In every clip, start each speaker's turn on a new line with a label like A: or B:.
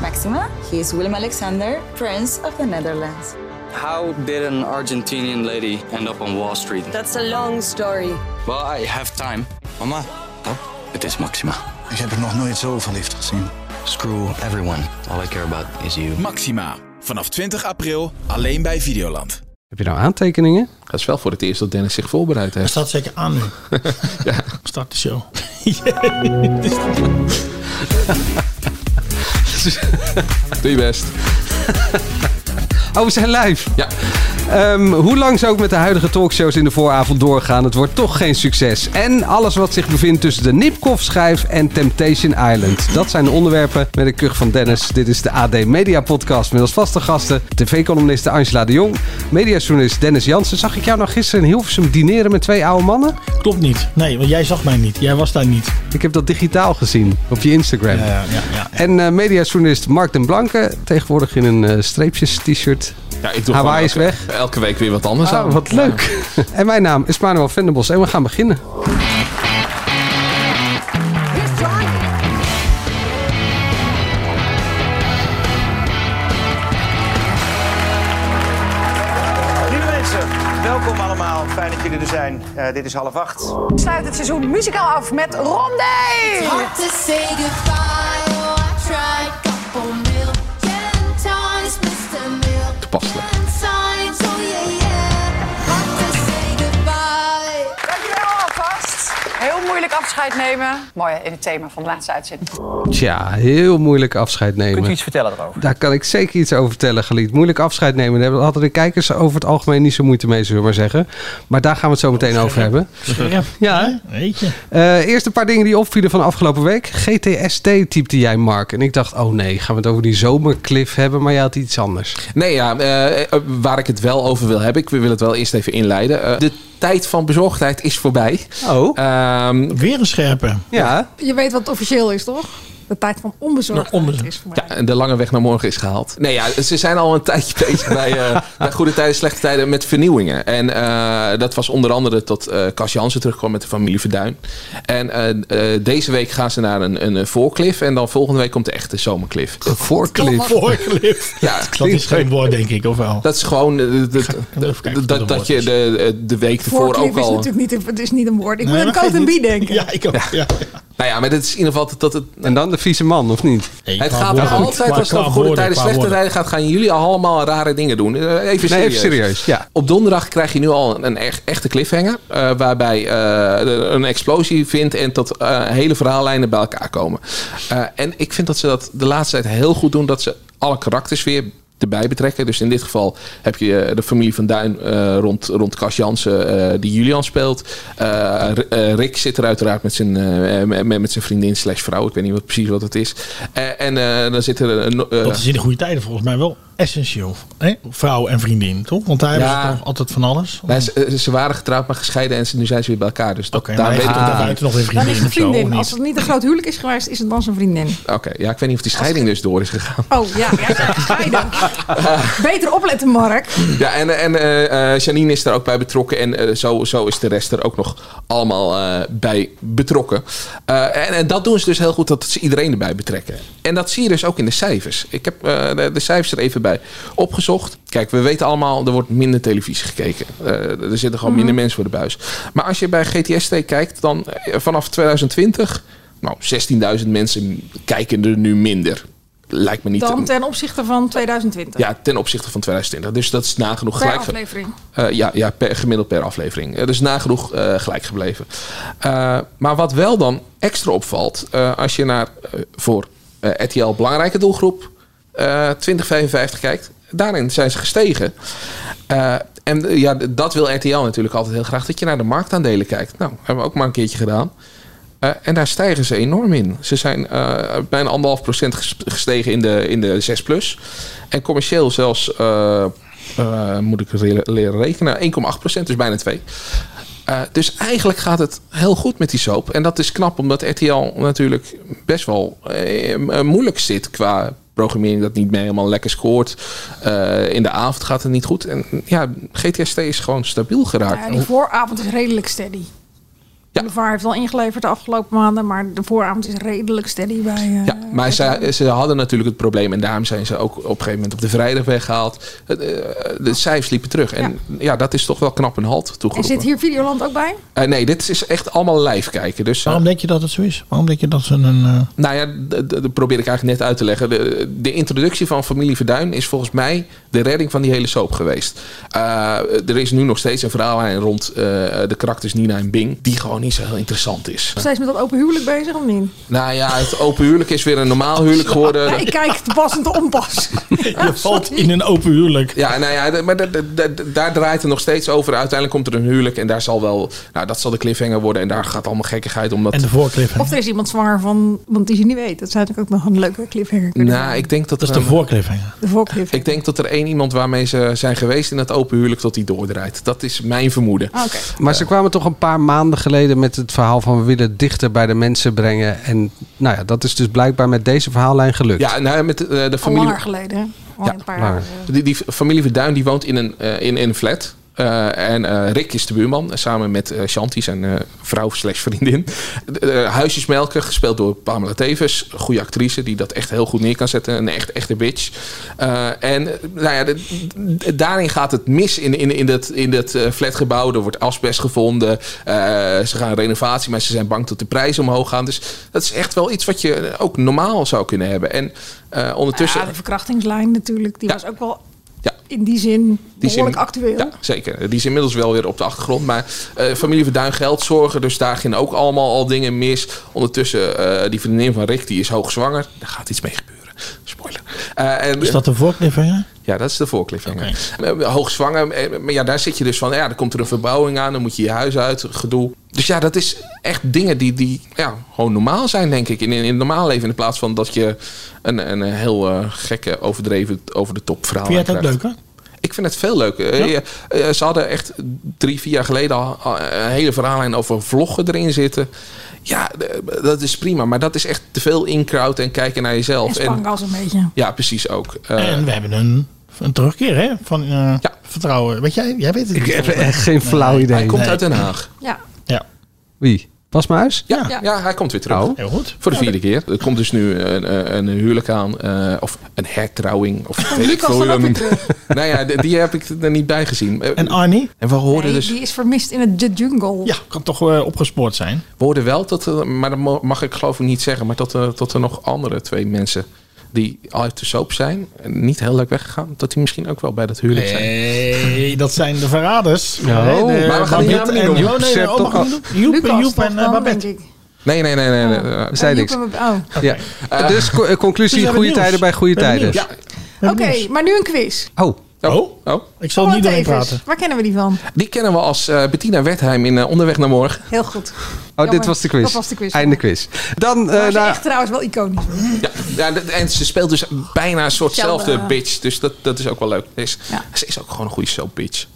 A: Maxima. He is Willem Alexander, Prince of the Netherlands.
B: How did an Argentinian lady end up on Wall Street?
C: That's a long story.
B: Well, I have time.
D: Mama,
B: Het is Maxima.
E: Ik Dus heb er nog nooit zo verliefd gezien.
B: Screw everyone. All I care about is you.
F: Maxima. Vanaf 20 april alleen bij Videoland.
G: Heb je nou aantekeningen?
H: Dat is wel voor het eerst dat Dennis zich voorbereid
I: Hij
H: heeft.
I: staat zeker aan nu. Start de show.
H: Doe je best.
G: Oh, we zijn live.
H: Ja,
G: Ehm, hoe lang ze ook met de huidige talkshows in de vooravond doorgaan, het wordt toch geen succes. En alles wat zich bevindt tussen de Nipkoff-schijf en Temptation Island. Dat zijn de onderwerpen met een kuch van Dennis. Dit is de AD Media Podcast met als vaste gasten tv-columniste Angela de Jong, mediajournalist Dennis Jansen. Zag ik jou nou gisteren in Hilversum dineren met twee oude mannen?
I: Klopt niet. Nee, want jij zag mij niet. Jij was daar niet.
G: Ik heb dat digitaal gezien op je Instagram.
I: Ja, ja, ja. ja.
G: En eh mediajournalist Mark den Blanke, tegenwoordig in een eh, streepjes-t-shirt.
H: ja ik doe
G: Hawaii
H: gewoon
G: is
H: elke,
G: weg.
H: elke week weer wat anders
G: Ah,
H: aan.
G: wat leuk. En mijn naam is Manuel Venderbos en we gaan beginnen.
J: Lieve mensen, welkom allemaal. Fijn dat jullie er zijn. Eh, dit is half acht.
C: Sluit het seizoen muzikaal af met Rondé!
K: Hard to say goodbye. Oh, I tried couple million times, Mr. Million
H: Toepasselijk.
K: times. Oh yeah, yeah. Hard to say goodbye.
C: Dankjewel alvast. Heel moeilijk afscheid nemen. Mooi hè, in het thema van de laatste uitzending.
G: Tja, heel moeilijk afscheid
J: Kunt u
G: nemen.
J: iets vertellen erover?
G: Daar kan ik zeker iets over vertellen, Galiet. Moeilijk afscheid nemen. Daar hadden de kijkers over het algemeen niet zo moeite mee, zullen we maar zeggen. Maar daar gaan we het zo meteen over hebben.
I: Scherp.
G: Ja, hè?
I: Ja, Weet je.
G: Eh, eerst een paar dingen die opvielen van afgelopen week. GTSD typte jij, Mark. En ik dacht, oh nee, gaan we het over die zomercliff hebben? Maar jij had iets anders.
H: Nee, ja, eh, eh, waar ik het wel over wil hebben, ik wil het wel eerst even inleiden. Eh, de tijd van bezorgdheid is voorbij.
G: Oh,
H: Ehm,
I: Weer een scherpe.
G: ja.
C: Je weet wat het officieel is, toch? De tijd van onbezorgdheid
I: Nou, onbezorgd.
C: is voor mij.
H: ja, en de lange weg naar morgen is gehaald. Nee, ja, ze zijn al een tijdje bezig bij, eh, bij goede tijden, slechte tijden met vernieuwingen. En eh, dat was onder andere tot eh Cas Jansen terugkwam met de familie Verduin. En eh, eh, deze week gaan ze naar een, een eh, voorklif. En dan volgende week komt de echte zomerklif.
G: Een voorcliff.
I: Voorgelift.
H: Ja,
I: Dat is geen woord, denk ik, of wel?
H: Dat is gewoon eh, de- de-
I: even kijken
H: de-
I: wat
H: dat,
I: het
H: dat
I: woord
H: je
I: is.
H: de, eh, de week ervoor
C: Voorkliff
H: ook
C: is
H: al.
C: natuurlijk niet een, het is niet een woord. Ik
I: Nee,
C: moet
I: maar
C: aan Coat en
I: geen-
C: Bie denken.
I: Ja, ik ook. Ja.
H: Nou ja, maar dat is in ieder geval dat, dat het.
G: En dan de vieze man, of niet?
H: Het gaat er altijd als het over goede tijden, slechte tijden gaat, gaan jullie allemaal rare dingen doen. Eh, Even
G: Nee,
H: serieus.
G: even serieus. Ja.
H: Op donderdag krijg je nu al een, een echt, echte cliffhanger. eh, waarbij eh, de- een explosie vindt en tot eh, hele verhaallijnen bij elkaar komen. Eh, en ik vind dat ze dat de laatste tijd heel goed doen. Dat ze alle karakters weer erbij betrekken. Dus in dit geval heb je eh, de familie van Duin eh, rond, rond Cas Jansen, eh, die Julian speelt. Eh, R- eh, Rick zit er uiteraard met zijn, eh, met, met zijn vriendin slash vrouw. Ik weet niet wat, precies wat het is. Eh, en eh, dan zit er... een- eh,
I: Dat is in de goede tijden volgens mij wel essentieel. Hè? Vrouw en vriendin, toch? Want daar hebben ze
H: Ja.
I: toch altijd van alles.
H: Nee, ze, ze waren getrouwd, maar gescheiden en ze, nu zijn ze weer bij elkaar. Dus dat,
I: Oké,
H: daar
I: maar
H: weet
I: hij
H: ik
I: heeft
H: het
I: toch
H: nog niet.
I: buiten nog een
C: Dan
I: vriendin
C: is het
I: of zo, of
C: vriendin.
I: niet?
C: Als het niet een groot huwelijk is geweest, is het dan zijn vriendin.
H: Oké, ja, ik weet niet of die scheiding dus door is gegaan.
C: Oh ja, ja ga je dan. Beter opletten, Mark.
H: Ja, en, en eh, eh, Janine is daar ook bij betrokken. En eh, zo, zo is de rest er ook nog allemaal eh, bij betrokken. Eh, en, en dat doen ze dus heel goed, dat ze iedereen erbij betrekken. En dat zie je dus ook in de cijfers. Ik heb eh, de, de cijfers er even bij opgezocht. Kijk, we weten allemaal, er wordt minder televisie gekeken. Eh, er zitten gewoon minder mensen voor de buis. Maar als je bij GTST kijkt, dan eh, vanaf 2020... Nou, 16.000 mensen kijken er nu minder. Lijkt me niet...
C: Dan ten opzichte van 2020.
H: Ja, ten opzichte van 2020. Dus dat is nagenoeg
C: Per
H: gelijk. ge-
C: aflevering.
H: eh, ja, ja per, gemiddeld per aflevering. Eh, dus nagenoeg eh, gelijk gebleven. Eh, maar wat wel dan extra opvalt, eh, als je naar eh, voor eh, RTL belangrijke doelgroep eh 2055 kijkt, daarin zijn ze gestegen. Eh, en eh, ja, d- dat wil RTL natuurlijk altijd heel graag, dat je naar de marktaandelen kijkt. Nou, hebben we ook maar een keertje gedaan. Eh, en daar stijgen ze enorm in. Ze zijn eh, bijna anderhalf procent ges- gestegen in de, in de 6 plus. En commercieel zelfs, eh, eh, moet ik re- leren rekenen, 1,8 procent, dus bijna 2. Eh, dus eigenlijk gaat het heel goed met die soap. En dat is knap, omdat RTL natuurlijk best wel eh, m- eh, moeilijk zit qua programmering dat niet meer helemaal lekker scoort. Eh, in de avond gaat het niet goed. En ja, GTST is gewoon stabiel geraakt.
C: Eh, Ja, die vooravond is redelijk steady.
H: oh. Ja.
D: De VAR heeft al ingeleverd de afgelopen maanden, maar de vooravond is redelijk steady bij. eh,
H: Ja, maar ze, ze hadden natuurlijk het probleem en daarom zijn ze ook op een gegeven moment op de vrijdag weggehaald. Het, eh, De cijfers liepen terug en ja. dat is toch wel knap een halt
D: En
H: toegeroepen.
D: zit hier Videoland ook bij?
H: Eh, nee, dit is echt allemaal live kijken. Dus, eh,
I: Waarom denk je dat het zo is? Waarom denk je dat ze een... eh,
H: nou ja, d- d- dat probeer ik eigenlijk net uit te leggen. De, de introductie van Familie Verduin is volgens mij de redding van die hele soap geweest. Eh, er is nu nog steeds een verhaallijn rond eh, de karakters Nina en Bing, die gewoon niet zo heel interessant is.
D: Nog steeds met dat open huwelijk bezig of niet?
H: Nou ja, het open huwelijk is weer een normaal huwelijk geworden.
D: Ik kijk te pas en te onpas.
I: je valt in een open huwelijk.
H: Ja, nou ja, d- maar d- d- d- daar draait het nog steeds over. Uiteindelijk komt er een huwelijk en daar zal wel, nou, dat zal de cliffhanger worden en daar gaat allemaal gekkigheid om. Dat,
I: En de voorcliffhanger.
D: Of er is iemand zwanger van, want die ze niet weet. Dat zou natuurlijk ook nog een leuke cliffhanger kunnen
H: nou, ik denk dat,
I: Dat is
H: er
I: de
H: een-
I: voorcliffhanger.
D: De voorcliffhanger.
H: ik denk dat er één iemand waarmee ze zijn geweest in het open huwelijk tot die doordraait. Dat is mijn vermoeden.
D: Ah, Oké.
G: Maar ze kwamen toch een paar maanden geleden met het verhaal van we willen het dichter bij de mensen brengen. En nou ja, dat is dus blijkbaar met deze verhaallijn gelukt.
H: Ja, nou ja, met eh, de
D: Al
H: familie.
D: langer geleden. hè? Al
H: Ja,
D: een paar
G: langer.
D: jaar. eh.
H: Die, die familie Verduin die woont in een, eh, in, in een flat. Eh, en eh, Rick is de buurman, eh, samen met eh Shanti, zijn eh, vrouw slash vriendin. De- de Huisjesmelker, gespeeld door Pamela Tevens. Goede actrice, die dat echt heel goed neer kan zetten. Een echt, echte bitch. Eh, en eh, nou ja, de- de- daarin gaat het mis in, in, in dat, in dat eh, flatgebouw. Er wordt asbest gevonden. Eh, ze gaan renovatie, maar ze zijn bang dat de prijzen omhoog gaan. Dus dat is echt wel iets wat je ook normaal zou kunnen hebben. En eh, ondertussen...
D: Ja, de verkrachtingslijn natuurlijk. Die
H: Ja.
D: was ook wel
H: Ja.
D: in die zin
H: Die is in-
D: behoorlijk actueel.
H: Ja, zeker. Die is inmiddels wel weer op de achtergrond. Maar eh, familie Verduin geld zorgen, dus daar gingen ook allemaal al dingen mis. Ondertussen, eh, die vriendin van Rick, die is hoogzwanger. Daar gaat iets mee gebeuren. Spoiler. Eh, en,
I: Is dat de voorcliffhanger?
H: Ja, dat is de voorcliffhanger. Eh, Hoogzwanger, eh, maar ja, daar zit je dus van, ja, dan komt er een verbouwing aan, dan moet je je huis uit, gedoe. Dus ja, dat is echt dingen die, die ja, gewoon normaal zijn, denk ik, in, in het normaal leven. In plaats van dat je een, een heel eh, gekke, overdreven, over de top verhaal
I: Vind jij dat
H: krijgt.
I: leuk, hè?
H: Ik vind het veel leuker. Eh, eh, eh, Ze hadden echt drie, vier jaar geleden al al eh, een hele verhaallijn over vloggen erin zitten. Ja, d- eh, dat is prima. Maar dat is echt te veel inkraut en kijken naar
D: En
H: jezelf.
D: spang als een beetje.
H: ja, precies ook. Eh,
I: En we hebben een, een terugkeer, hè? Van eh,
H: Ja.
I: vertrouwen. Weet jij, jij weet het
G: Ik
I: niet.
G: heb echt geen flauw idee.
H: hij komt
I: nee.
H: uit Den Haag.
D: Ja.
I: Ja,
G: Wie? Bas Muis?
H: Ja, ja.
D: Ja.
H: hij komt weer terug.
G: Oh.
I: heel goed.
H: Voor de vierde keer. Er komt dus nu een, een, een huwelijk aan. eh, of een hertrouwing. Of weet ik
D: Lucas
H: veel hoe je
D: dan
H: dat
D: ook
H: noemt.
D: weer
H: Nou ja, d- die heb ik er niet bij gezien. Eh,
I: En Arnie?
H: en we hoorden
D: Nee,
H: dus...
D: Die is vermist in het de jungle.
I: Ja, kan toch eh, opgespoord zijn.
H: We hoorden wel dat, er- maar dat mo- mag ik geloof ik niet zeggen, maar dat, er- dat er nog andere twee mensen die al uit de soap zijn, en niet heel leuk weggegaan, dat die misschien ook wel bij dat huwelijk zijn.
I: Nee, dat zijn de verraders.
G: Nou, maar we
H: gaan die
I: Babette
H: namen niet
I: en-
H: noemen.
I: Oh, nee,
G: Sepp
I: oh, mag
G: toch
I: ik niet doen? Joep,
D: Lucas
I: Joep
D: toch
I: en eh,
D: dan,
I: Babette.
D: denk ik.
H: Nee, nee, nee, nee.
D: Oh.
H: nee, nee.
G: We zei
D: Joep
G: niks.
D: en Bab- oh.
G: Ja. Eh, dus co- eh, conclusie,
I: Dus we
G: goede tijden
I: hebben nieuws.
G: bij goede
I: We hebben
G: tijden.
I: nieuws.
H: Ja.
D: Oké,
I: nieuws.
D: maar nu een quiz.
G: Oh,
H: Oh.
I: Oh.
H: oh.
I: Ik zal niet doorheen
D: Tevens.
I: praten.
D: Waar kennen we die van?
H: Die kennen we als eh, Bettina Wertheim in eh, Onderweg naar Morgen.
D: Heel goed.
G: oh dit
D: Jammer.
G: was de quiz.
D: Dat was de quiz.
G: Einde quiz. Dan, eh,
D: Maar ze
G: nou,
D: echt trouwens wel iconisch.
H: Ja. Ja, d- en ze speelt dus bijna een
D: Hetzelfde.
H: soortzelfde bitch, dus dat, dat is ook wel leuk. Ze is,
D: Ja.
H: ze is ook gewoon een goede soap bitch.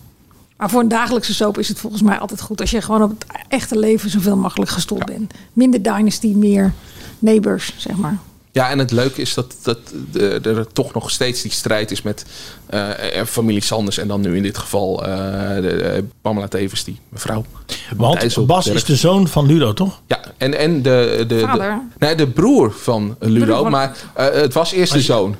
D: Maar voor een dagelijkse soap is het volgens mij altijd goed als je gewoon op het echte leven zoveel mogelijk gestoeld bent. Minder Dynasty, meer Neighbors, zeg maar.
H: Ja, en het leuke is dat, dat eh, er toch nog steeds die strijd is met eh, eh, familie Sanders. En dan nu in dit geval eh, de, eh, Pamela Tevens, die mevrouw.
I: Want
H: IJsselberg.
I: Bas is de zoon van Ludo, toch?
H: Ja, en, en de, de,
D: Vader.
H: de- nee, de broer van Ludo,
D: Broer van-
H: maar eh, het was eerst de zoon.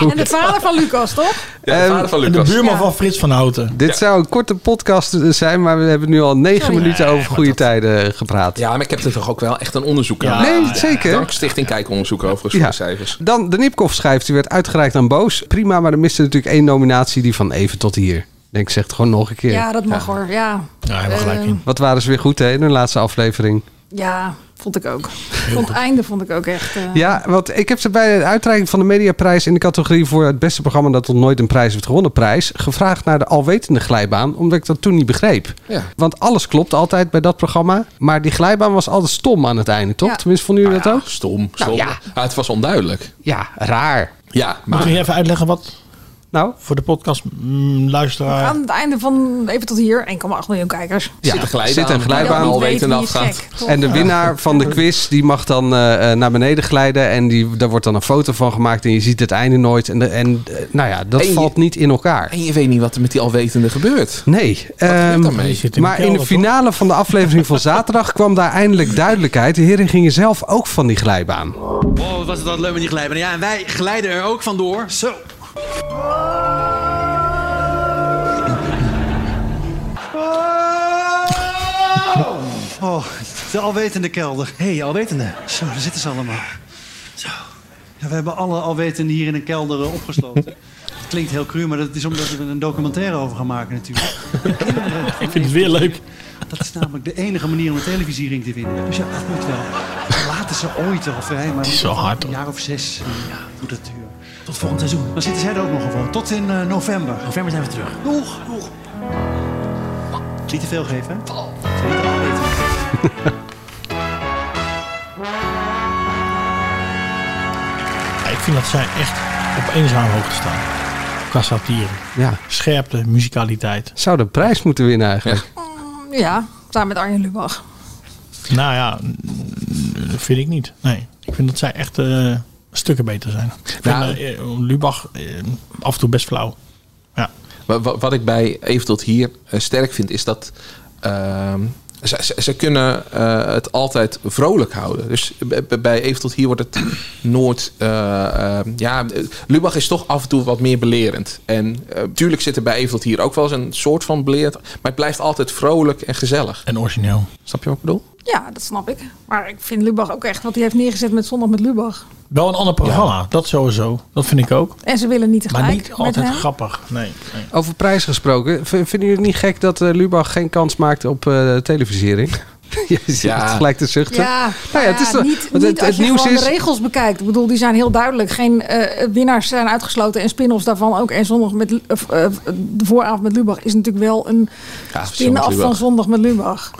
D: En de vader van Lucas, toch?
H: Ja, de
G: Ehm,
H: vader van
I: En de
H: Lucas.
I: buurman
D: Ja.
I: van Frits van Houten.
G: dit zou een korte podcast eh, zijn, maar we hebben nu al negen
D: Sorry.
G: minuten over goede tijden gepraat.
H: Ja, maar ik heb er toch ook wel echt een onderzoek aan.
G: Nee, zeker.
H: Dank Stichting Kijkonderzoek overigens voor
G: Ja.
H: de cijfers.
G: Dan de Nipkoff schrijft, die werd uitgereikt aan Boos. Prima, maar er miste natuurlijk één nominatie, die van even tot hier. Ik Denk, zeg het gewoon nog een keer.
D: Ja, dat mag hoor. Ja.
I: Ja, hij mag gelijk
L: Ehm,
D: Eh,
I: in.
G: Wat waren ze weer goed hè, in hun laatste aflevering.
D: Ja, vond ik ook. Vond het einde vond ik ook echt. eh,
G: Ja, want ik heb ze bij de uitreiking van de Mediaprijs in de categorie voor het beste programma dat nog nooit een prijs heeft gewonnen prijs gevraagd naar de alwetende glijbaan, omdat ik dat toen niet begreep.
H: Ja.
G: Want alles klopt altijd bij dat programma, maar die glijbaan was altijd stom aan het einde, toch?
D: Ja.
G: Tenminste, vonden jullie
H: Ja,
G: dat ook?
H: Stom, stom.
G: Nou, ja.
H: Ah, het was onduidelijk.
G: Ja, raar.
H: Ja, maar
I: Moet je even uitleggen wat...
G: Nou, Nou?
I: Voor de podcast mm, luisteraar.
D: Aan het einde van even tot hier 1,8 miljoen kijkers.
H: Ja, zit een glijbaan.
G: zit een glijbaan.
H: Al
D: Wie weet
H: weten
D: wie
H: dat
D: is
H: gaat.
D: gek, toch?
G: En de winnaar van de quiz, die mag dan eh, eh, naar beneden glijden. En die, daar wordt dan een foto van gemaakt. En je ziet het einde nooit. En, de- en eh, nou ja, dat
H: En je-
G: valt niet in elkaar.
H: En je weet niet wat er met die alwetende gebeurt.
G: Nee.
H: gebeurt
G: ehm,
H: daarmee?
I: Die zit in de
G: maar in
I: kelder,
G: de finale van de aflevering van zaterdag kwam daar eindelijk duidelijkheid. De heren gingen zelf ook van die glijbaan.
M: Oh, wat was het altijd leuk met die glijbaan. Ja, en wij glijden er ook vandoor. Zo.
L: Oh, de alwetende kelder. Hé, hey, alwetende. Zo, daar zitten ze allemaal. Zo. Ja, we hebben alle alwetenden hier in een kelder eh, opgesloten. Dat klinkt heel cru, maar dat is omdat we er een documentaire over gaan maken natuurlijk. Ik vind het weer leuk. Dat is namelijk de enige manier om een televisiering te winnen. Dus ja, dat moet wel. Laten ze ooit al vrij, maar
I: Het is wel hard,
L: een jaar of zes. Ja, moet dat duren. Tot volgend seizoen. Dan zitten zij er ook nog gewoon. Tot in eh, november. November zijn we terug. Doeg, doeg. Niet te veel geven, hè? Zeker alweten.
I: Ja, ik vind dat zij echt op eenzaam hoogte staan. Qua satire.
G: Ja.
I: Scherpte, muzikaliteit.
G: Zou de prijs moeten winnen eigenlijk?
D: Mm, Ja, samen met Arjen Lubach.
I: Nou ja, mm, dat vind ik niet. Nee, ik vind dat zij echt eh, stukken beter zijn. Ik
H: Nou,
I: vind eh, Lubach eh, af en toe best flauw. Ja.
H: Wa- wa- Wat ik bij Even tot hier eh, sterk vind, is dat ehm, ze, ze, ze kunnen eh, het altijd vrolijk houden. Dus b- b- bij Even tot hier wordt het nooit. eh, ehm, ja, eh, Lubach is toch af en toe wat meer belerend. En eh, tuurlijk zit er bij Even tot hier ook wel eens een soort van belerend. Maar het blijft altijd vrolijk en gezellig.
I: En origineel.
H: Snap je wat ik bedoel?
D: Ja, dat snap ik. Maar ik vind Lubach ook echt wat hij heeft neergezet met Zondag met Lubach.
I: Wel een ander programma, dat sowieso. Dat vind ik ook.
D: En ze willen niet tegelijk
I: Maar niet
D: met
I: altijd
D: hem.
I: grappig. Nee, nee.
G: Over prijs gesproken. V- vinden jullie het niet gek dat eh, Lubach geen kans maakt op eh televisiering? Je zit
H: Ja.
G: gelijk te zuchten.
D: Ja,
G: Nou ja, het is toch-
D: niet,
G: want
D: niet
G: het-
D: als
G: het
D: je
G: nieuws
D: gewoon
G: is-
D: de regels bekijkt. Ik bedoel, die zijn heel duidelijk. Geen eh, winnaars zijn uitgesloten en spin-offs daarvan ook. En zondag met, Lu- of, eh, de vooravond met Lubach is natuurlijk wel een
H: Ja,
D: spin-off van zondag met Lubach.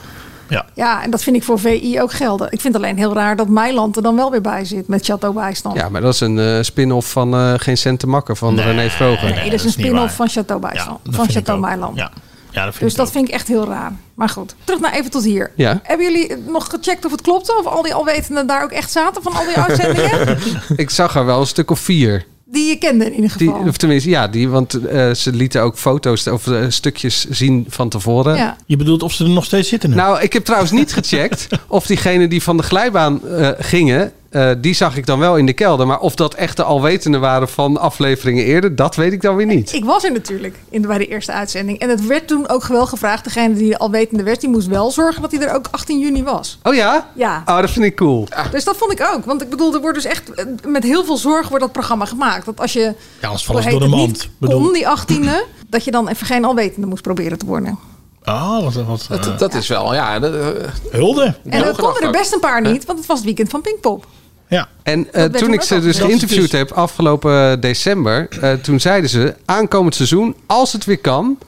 I: Ja.
D: Ja, en dat vind ik voor VI ook gelden. Ik vind alleen heel raar dat Meiland er dan wel weer bij zit met Chateau Bijstand.
G: Ja, maar dat is een eh, spin-off van eh, Geen Cent te makken van René Vroger.
D: nee, dat is een
I: niet
D: spin-off
I: waar.
D: van Chateau Bijstand. van
I: dat vind ik
D: Chateau
I: ook.
D: Meiland.
I: Ja. ja, dat vind
D: Dus
I: ik
D: dat
I: ook.
D: vind ik echt heel raar. Maar goed, terug naar even tot hier.
G: Ja.
D: Hebben jullie nog gecheckt of het klopte? Of al die alwetenden daar ook echt zaten van al die uitzendingen?
G: Ik zag er wel een stuk of vier.
D: die je kende in ieder
G: Die,
D: geval.
G: of tenminste, ja, die, want eh, ze lieten ook foto's of eh, stukjes zien van tevoren.
D: ja.
I: Je bedoelt of ze er nog steeds zitten nu?
G: Nou, ik heb trouwens niet gecheckt of diegenen die van de glijbaan eh, gingen, eh, die zag ik dan wel in de kelder. Maar of dat echt de alwetenden waren van afleveringen eerder, dat weet ik dan weer niet.
D: Ik was er natuurlijk in de, bij de eerste uitzending. En het werd toen ook wel gevraagd. Degene die al wetende werd, die moest wel zorgen dat hij er ook 18 juni was.
G: Oh ja?
D: Ja.
G: Oh, dat vind ik cool.
D: Dus dat vond ik ook. Want ik bedoel, er wordt dus echt eh, met heel veel zorg wordt dat programma gemaakt. Dat als je
I: Ja, anders vallen ze
D: hoe heet
I: door de
D: het,
I: mand.
D: niet
I: Bedoel-
D: kon, die 18e, dat je dan even geen alwetende moest proberen te worden.
I: Oh, wat, wat
H: Dat,
I: eh,
H: dat is wel, ja. dat, eh,
I: hulde.
D: En
H: Heel
D: er konden er
H: grappig.
D: best een paar niet, want het was het weekend van Pinkpop.
I: Ja.
G: En eh,
D: werd
G: toen
D: toen
G: ik
D: ook
G: ze
D: al
G: dus
I: gezegd.
G: geïnterviewd
I: Dat is
G: heb afgelopen december, eh, toen zeiden ze aankomend seizoen, als het weer kan,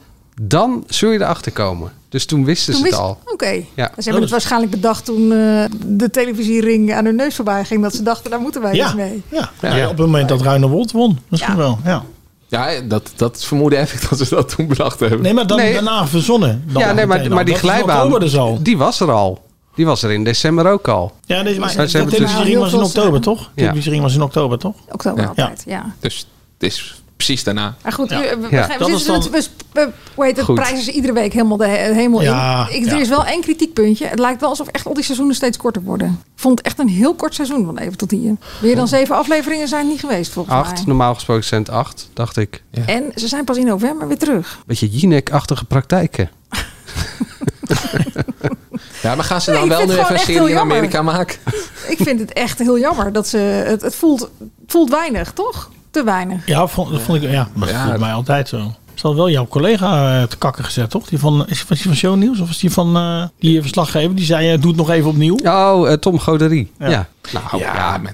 G: dan zul je erachter komen. Dus toen wisten
D: Toen
G: ze
D: wist
G: het al.
D: Oké. Dus ze
I: is-
D: hebben het waarschijnlijk bedacht toen eh, de televisiering aan hun neus voorbij ging. Dat ze dachten, daar moeten wij iets
I: Ja.
D: mee.
I: Ja.
G: Ja.
I: Ja, Op het moment dat Ruine Wold won. Misschien
D: Ja.
I: wel. Ja.
H: ja, dat, dat vermoeden heb ik dat ze dat toen bedacht hebben.
I: Nee, maar dan
G: Nee.
I: daarna verzonnen. Dan
G: ja, nee, maar,
I: meteen al.
G: maar die
I: Dat is in
G: glijbaan,
I: oktober dus al.
G: die was er al. Die was er in december ook al.
I: Ja, nee, maar
G: ze hebben
I: de televisiering
D: tussen-
I: was in oktober, toch? De
G: Ja.
I: televisiering was in oktober, toch?
D: Oktober
H: Ja.
D: altijd, ja.
H: Dus het is precies daarna.
D: Maar goed,
I: Ja.
D: u- we, we,
G: Ja.
D: gaan- we
I: Dat
D: zitten
I: is dan-
D: met- we- we- hoe heet het,
G: Goed.
D: prijzen ze iedere week helemaal de he- hemel
I: Ja,
D: in. Ik,
I: ja.
D: Er is wel één kritiekpuntje. Het lijkt wel alsof echt al die seizoenen steeds korter worden. Ik vond het echt een heel kort seizoen van even tot hier. Meer
H: Oh.
D: dan zeven afleveringen zijn het niet geweest volgens
G: Acht,
D: mij.
G: normaal gesproken zijn het acht, dacht ik.
D: En ze zijn pas in november weer terug.
G: Beetje Jinek-achtige praktijken.
H: Ja, maar gaan ze
D: Nee,
H: dan
D: ik
H: wel
D: vind
H: nu even een
D: het gewoon echt
H: serie in
D: heel
H: Amerika maken?
D: Ik vind het echt heel jammer dat ze... Het, het voelt, het voelt weinig, toch? Te weinig.
I: Ja, vond, dat vond ik. Ja, maar dat
H: Ja,
I: voelt mij altijd zo. Ze had wel jouw collega eh, te kakken gezet, toch? Die van, is, was die van Shownieuws of is die van eh, die verslaggever? Die zei, eh, doe het nog even opnieuw.
G: Oh, eh, Tom Goderie. Ja. Nou,
H: Ja, eh,
G: ja.
H: man.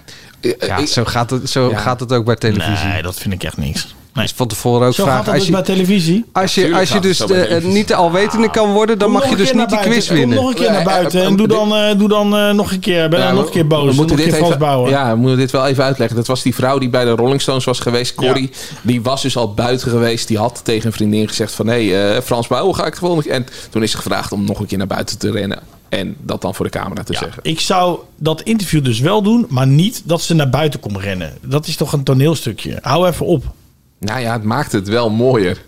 G: Ja, zo gaat het, zo
I: Eh, Ja.
G: gaat het ook bij televisie.
I: Nee, dat vind ik echt niks.
G: Dus van tevoren ook
I: Zo
G: vragen.
I: gaat dat dus bij televisie.
G: Als je,
I: Natuurlijk
G: als je
I: gaat het
G: dus
I: zo bij
G: de-
I: televisie.
G: niet de alwetende kan worden, dan
I: Kom
G: mag
I: nog
G: je
I: een
G: dus
I: keer
G: niet die
I: naar
G: quiz
I: buiten. Kom
G: winnen.
I: nog een keer naar buiten en doe dan, eh, doe dan eh, nog een keer. Ben
H: Ja,
I: dan nog een keer boos. Nog een keer
H: even,
I: vastbouwen.
H: Ja, we moeten dit wel even uitleggen. Dat was die vrouw die bij de Rolling Stones was geweest, Corrie. Die was dus al buiten geweest. Die had tegen een vriendin gezegd van... hé, hey, eh, Frans Bouwen ga ik gewoon... nog- En toen is ze gevraagd om nog een keer naar buiten te rennen. En dat dan voor de camera te zeggen.
I: Ik zou dat interview dus wel doen, maar niet dat ze naar buiten komt rennen. Dat is toch een toneelstukje. Hou even op.
H: Nou ja, het maakt het wel mooier.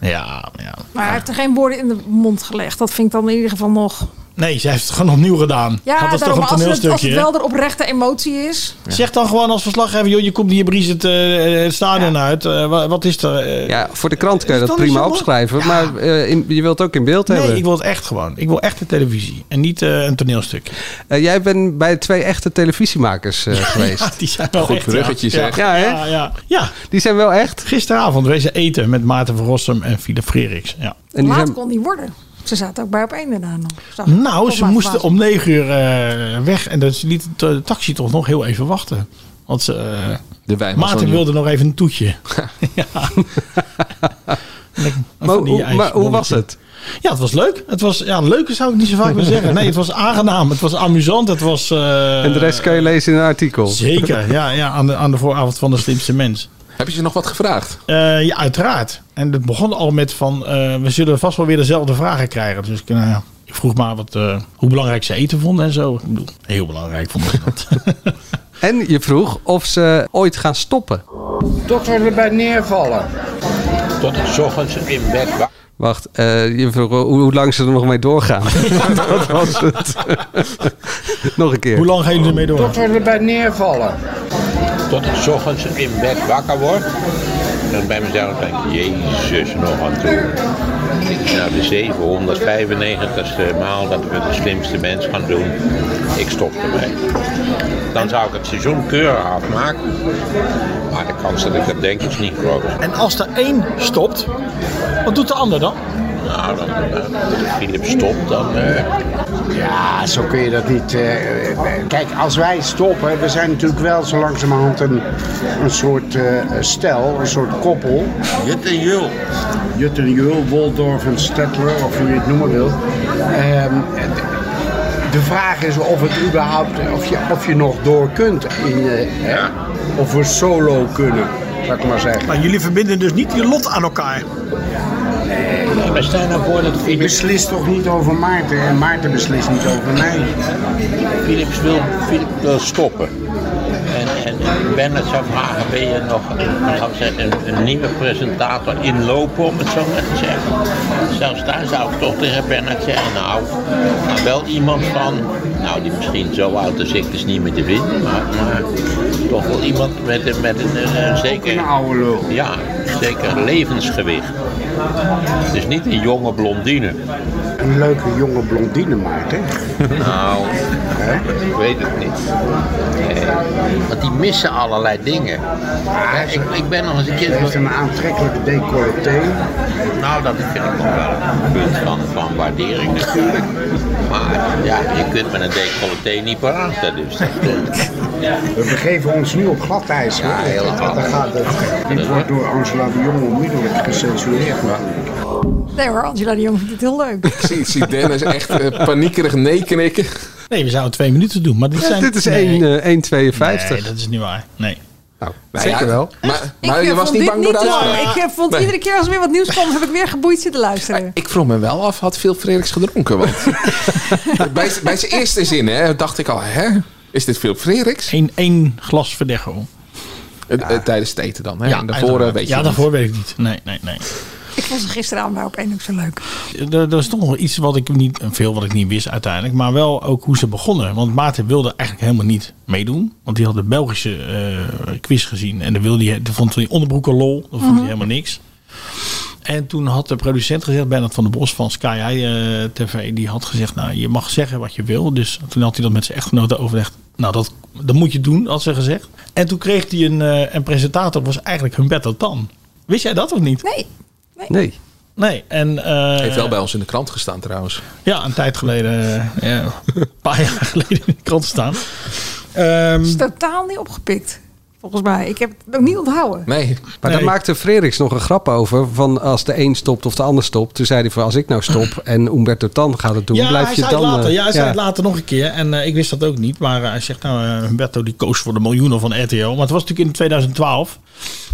I: Ja, ja.
D: Maar hij heeft er geen woorden in de mond gelegd. Dat vind ik dan in ieder geval nog.
I: Nee, ze heeft het gewoon opnieuw gedaan.
D: Ja,
I: dat
D: daarom,
I: is toch een
D: als, het,
I: toneelstukje.
D: als het wel de oprechte emotie is.
I: Zeg dan gewoon als verslaggever, joh, je komt hier bries het, eh, het stadion uit. Eh, wa- wat is er? eh?
G: Ja, voor de krant kan je
I: Is
G: dat
I: dat niet
G: prima
I: zo mooi?
G: opschrijven, maar eh, in- je wilt het ook in beeld
I: nee,
G: hebben.
I: ik wil het echt gewoon. Ik wil echt de televisie en niet eh, een toneelstuk.
G: Eh, jij bent bij twee echte televisiemakers eh, geweest.
I: Ja, die zijn wel
G: Goed
I: echt,
G: bruggetje,
I: ja.
G: zeg.
I: Ja,
G: Ja, hè?
I: ja, ja, ja.
G: Die zijn wel echt.
I: Gisteravond wezen eten met Maarten van Rossum en Philip Freeriks. Ja.
D: Laat kon die worden. Ze zaten ook bij op één daarna nog. Zag ik.
I: Nou,
D: Of
I: ze
D: maar
I: moesten
D: verbaasd.
I: om negen uur eh, weg. En dat ze liet de t- taxi toch nog heel even wachten. Want ze, eh,
H: De wijn was
I: Maarten
H: nog
I: wilde nog even een toetje. ja. Lekker-
G: Maar
I: van die
G: hoe- maar hoe
I: ijsbolletjes.
G: was het?
I: Ja, het was leuk. Het was, ja, leuk zou ik niet zo vaak meer zeggen. Nee, het was aangenaam. Het was amusant. Het was... eh,
G: en de rest kan je lezen in een artikel.
I: Zeker, ja, ja aan, de, aan de vooravond van de slimste mens. Eh,
H: Heb je ze nog wat gevraagd?
I: ja, uiteraard. En het begon al met van, eh, we zullen vast wel weer dezelfde vragen krijgen. Dus ik, nou ja, ik vroeg maar wat, eh, hoe belangrijk ze eten vonden en zo. Ik bedoel, heel belangrijk vond ik dat.
G: En je vroeg of ze ooit gaan stoppen.
N: Tot we erbij neervallen. Tot s ochtends in bed.
G: Wacht, eh, je vroeg hoe, hoe lang ze er nog mee doorgaan. dat was het. nog een keer.
I: Hoe lang gaan jullie ermee door?
N: Tot we erbij neervallen. Tot s ochtends in bed wakker word. En bij mezelf denk ik, jezus nog aan toe. Dit is nou de 795ste eh, maal dat we de slimste mens gaan doen. Ik stop ermee. Dan zou ik het seizoen keurig afmaken. Maar de kans dat ik dat denk is niet groot.
I: En als er één stopt, wat doet de ander dan?
N: Nou, dan eh, Philip stopt dan. eh,
O: Ja, zo kun je dat niet. eh, eh, kijk, als wij stoppen, we zijn natuurlijk wel zo langzamerhand een, een soort eh, stel, een soort koppel. Jut en Jul. Jut en Jul, Woldorf en Stettler, of hoe je het noemen wil. Ehm, de vraag is of het überhaupt, of je, of je nog door kunt in, eh, hè, of we solo kunnen, zou ik maar zeggen.
I: Maar jullie verbinden dus niet je lot aan elkaar.
O: Nee, we staan ervoor dat Ik beslis toch niet over Maarten en Maarten beslist niet over mij.
N: Philips wil, Philip wil stoppen. En, en Bernard zou vragen, ben je nog laten we zeggen, een, een nieuwe presentator inlopen, om het zo maar te zeggen. Zelfs daar zou ik toch tegen Bernard zeggen, nou, maar wel iemand van, nou die misschien zo oud als ik is niet meer te vinden, maar, maar toch wel iemand met, een- met een, eh, zeker... oude lul. Ja, zeker levensgewicht. Dus niet een jonge blondine.
O: Een leuke jonge blondine, Maarten.
N: Nou, ik weet het niet. Nee, Want die missen allerlei dingen. Hè, ik, ik ben nog eens een keer...
O: Ze heeft een aantrekkelijke decolleté.
N: Nou, dat vind ik nog wel een punt van, van waardering natuurlijk. Maar ja, je kunt met een decolleté niet praten. Dus dat,
O: We begeven ons nu op glad ijs. hè.
N: Ja, heel glad.
O: Daar gaat het. Dit wordt door Angela de Jong onmiddellijk gecensureerd.
D: Nee hoor, Angela de Jong vindt het heel leuk.
H: Ik zie, ik zie Dennis echt eh, paniekerig nee knikken.
I: Nee, we zouden twee minuten doen. Maar dit,
H: Ja,
I: zijn,
H: dit is
I: nee.
H: één, eh,
G: 1,52.
I: Nee, dat is niet waar. Nee.
G: Nou,
H: zeker wel. Maar, maar je was
D: eh, vond
H: niet
D: dit
H: bang voor de
D: niet
H: uitspraak?
D: lang. Ik eh, vond
H: Nee.
D: iedere keer als er weer wat nieuws kwam, heb ik weer geboeid zitten
I: Eh.
D: luisteren.
H: Ik vroeg me wel af, had Phil Frederiks gedronken? Want bij, z- bij zijn eerste zin hè, dacht ik al, hè, is dit Phil Frederiks?
I: Eén, één glas Verdecho.
H: Eh, Tijdens het eten dan. Hè?
I: Ja,
H: en daarvoor eh,
I: uiteraard.
H: weet je
I: Ja,
H: niet.
I: daarvoor weet ik niet. Nee, nee, nee.
D: Ik vond ze gisteravond bij op één ook zo leuk.
I: Er, er is toch nog iets wat ik niet, veel wat ik niet wist uiteindelijk, maar wel ook hoe ze begonnen. Want Maarten wilde eigenlijk helemaal niet meedoen, want die had de Belgische eh, quiz gezien en dan wilde hij, die vond hij onderbroeken lol, dat vond hij
P: Mhm.
I: helemaal niks. En toen had de producent gezegd, Bernard van der Bos van Sky High eh, TV, die had gezegd, nou je mag zeggen wat je wil. Dus toen had hij dat met zijn echtgenoten overlegd. Nou, dat, dat moet je doen, had ze gezegd. En toen kreeg hij een, eh, een presentator, dat was eigenlijk Humberto Tan. Wist jij dat of niet?
D: Nee.
G: Nee.
I: Nee, en... eh,
H: Heeft wel bij ons in de krant gestaan trouwens.
I: ja, een tijd geleden, eh, ja, een paar jaar geleden in de krant staan.
D: Het is totaal niet opgepikt, volgens mij. Ik heb het ook niet onthouden.
G: Nee. Maar daar
D: Nee.
G: maakte Frederiks nog een grap over. Van als de een stopt of de ander stopt. Toen zei hij van als ik nou stop en Umberto Tan gaat het doen.
I: Ja,
G: blijf
I: hij
G: je
I: zei
G: dan...
I: het later.
G: eh,
I: Ja, hij zei het later nog een keer. En eh, ik wist dat ook niet. Maar eh, hij zegt nou, eh, Humberto die koos voor de miljoenen van RTL. Maar het was natuurlijk in 2012.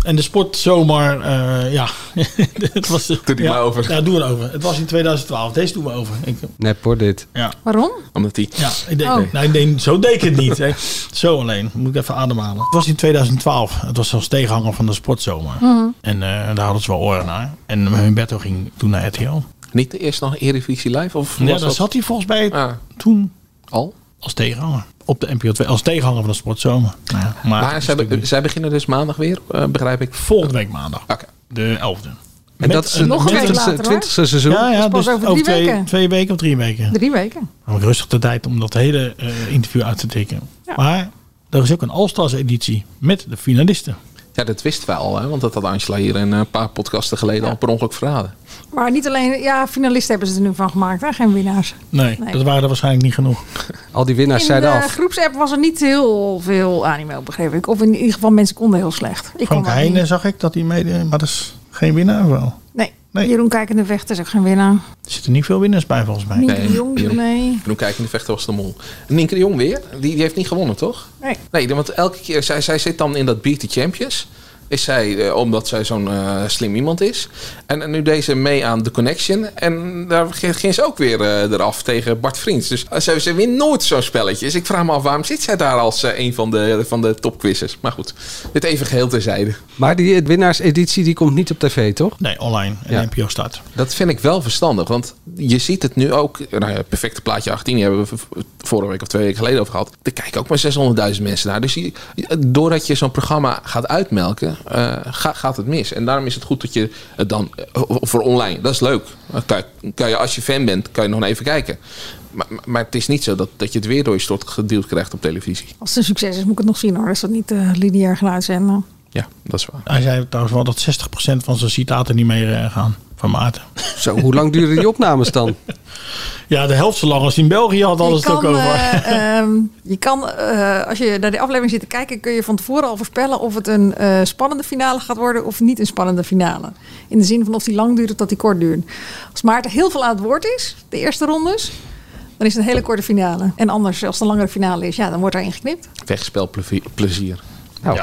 I: En de sport zomaar, eh, ja. het was, doe
H: die maar over.
I: Ja, doe het over. Het was in 2012. Deze doen we over. Ik,
G: Nep hoor dit.
I: ja.
D: Waarom?
H: Omdat die...
I: Ja, ik denk,
D: Oh.
I: nou, ik denk, zo deed ik het niet. Hè. Zo alleen. Moet ik even ademhalen. Het was in 2012. Het was zelfs tegenhanger van de sportzomer.
H: Mhm.
I: En eh, daar hadden ze wel oren naar. En Humberto ging toen naar RTL.
H: Niet de eerste nog Eredivisie Live? Of
I: Ja,
H: was
I: daar
H: dat-
I: zat hij volgens mij
H: Ah.
I: toen
H: al
I: als tegenhanger. Op de NPO 2, als tegenhanger van de sportzomer. Nou ja, maar
H: Maar, zij, be- zij beginnen dus maandag weer, eh, begrijp ik.
I: Volgende week maandag. de 11e.
H: Ah. En dat is het 20e, 20e seizoen.
I: Ja, ja
D: Dat is pas
I: dus
D: over
I: over,
D: drie
I: twee,
D: weken.
I: twee weken of drie weken.
D: Drie weken.
I: Dan heb ik rustig de tijd om dat hele eh, interview uit te tikken. Maar er is ook een All-Stars editie met de finalisten.
H: Ja, dat wisten we al, hè, want dat had Angela hier een eh, paar podcasten geleden al per ongeluk verraden.
D: Maar niet alleen, ja, finalisten hebben ze er nu van gemaakt, hè? geen winnaars.
I: Nee,
D: Nee.
I: dat waren er waarschijnlijk niet genoeg.
G: Al die
H: Nou,
G: winnaars
D: In de groepsapp was er niet heel veel animo, begreep ik. Of in ieder geval, mensen konden heel slecht. Ik kon
I: Frank
D: dat
I: Heijnen
D: niet.
I: zag ik dat hij meedeed, maar dat is geen winnaar wel.
D: Nee. Jeroen Kijkende Vecht is ook geen winnaar.
I: Er zitten niet veel winnaars bij volgens mij.
D: Nienke de Jong, nee.
H: Toen kijken in de vechter was de mol. En Nienke de Jong weer, die, die heeft niet gewonnen, toch?
D: Nee.
H: Nee, want elke keer, zij, zij zit dan in dat Beat the Champions. Is zij, eh, omdat zij zo'n eh, slim iemand is. En, en nu deze mee aan The Connection. En daar ging ging ze ook weer eh, eraf tegen Bart Vriends. Dus eh, ze, ze wint nooit zo'n spelletje. Dus ik vraag me af, waarom zit zij daar als eh, een van de, van de topquizzers? Maar goed, dit even geheel terzijde.
G: Maar die winnaarseditie die komt niet op tv, toch?
I: Nee, online. En NPO start.
H: Dat vind ik wel verstandig, want je ziet het nu ook. Nou ja, perfecte plaatje 18, die hebben we v- vorige week of twee weken geleden over gehad. Er kijken ook maar 600.000 mensen naar. Dus je, doordat je zo'n programma gaat uitmelken, eh, ga- gaat het mis. En daarom is het goed dat je het dan eh, voor online, dat is leuk. Dan Kan je, kan je, als je fan bent, kan je nog even kijken. Maar, maar- maar het is niet zo dat, dat je het weer door je stort geduwd krijgt op televisie.
D: Als het een succes is, moet ik het nog zien hoor. Als dat niet eh, lineair gaan uitzenden.
H: Ja, dat is waar.
I: Hij zei trouwens wel dat 60% van zijn citaten niet meer eh, gaan. Van Maarten.
G: Zo, hoe lang duren die opnames dan?
I: Ja, de helft zo lang als hij in België had alles het ook over.
D: eh, ehm, je kan, eh, als je naar de aflevering zit te kijken, kun je van tevoren al voorspellen of het een eh, spannende finale gaat worden of niet een spannende finale. In de zin van of die lang duurt of dat die kort duurt. Als Maarten heel veel aan het woord is, de eerste rondes, dan is het een hele korte finale. En anders, als het een langere finale is, ja, dan wordt er ingeknipt.
H: Wegspelplezier.
G: Nou.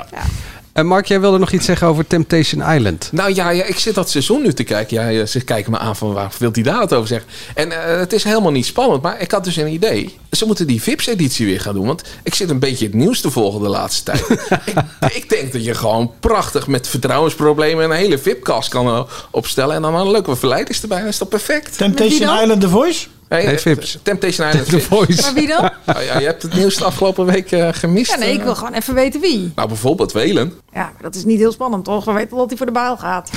G: En Mark, jij wilde nog iets zeggen over Temptation Island.
H: Nou ja, ja, ik zit dat seizoen nu te kijken. Ja, ja, ze kijken me aan van waar wilt hij daar wat over zeggen? En eh, het is helemaal niet spannend, maar ik had dus een idee. Ze moeten die VIPS-editie weer gaan doen, want ik zit een beetje het nieuws te volgen de laatste tijd. ik, ik denk dat je gewoon prachtig met vertrouwensproblemen een hele VIP-kast kan eh, opstellen en dan een leuke verleiders erbij. Dat is toch perfect?
I: Temptation Island The Voice?
H: Nee,
I: Nee,
H: eh,
I: Vips.
H: Temptation Island.
I: The
H: Vips.
I: Voice. Maar wie dan?
H: Nou ja, je hebt het nieuws de afgelopen week eh, gemist.
D: Ja, nee, ik wil gewoon even weten wie.
H: Nou, bijvoorbeeld Welen.
D: Ja, dat is niet heel spannend, toch? We weten wel dat hij voor de baal gaat.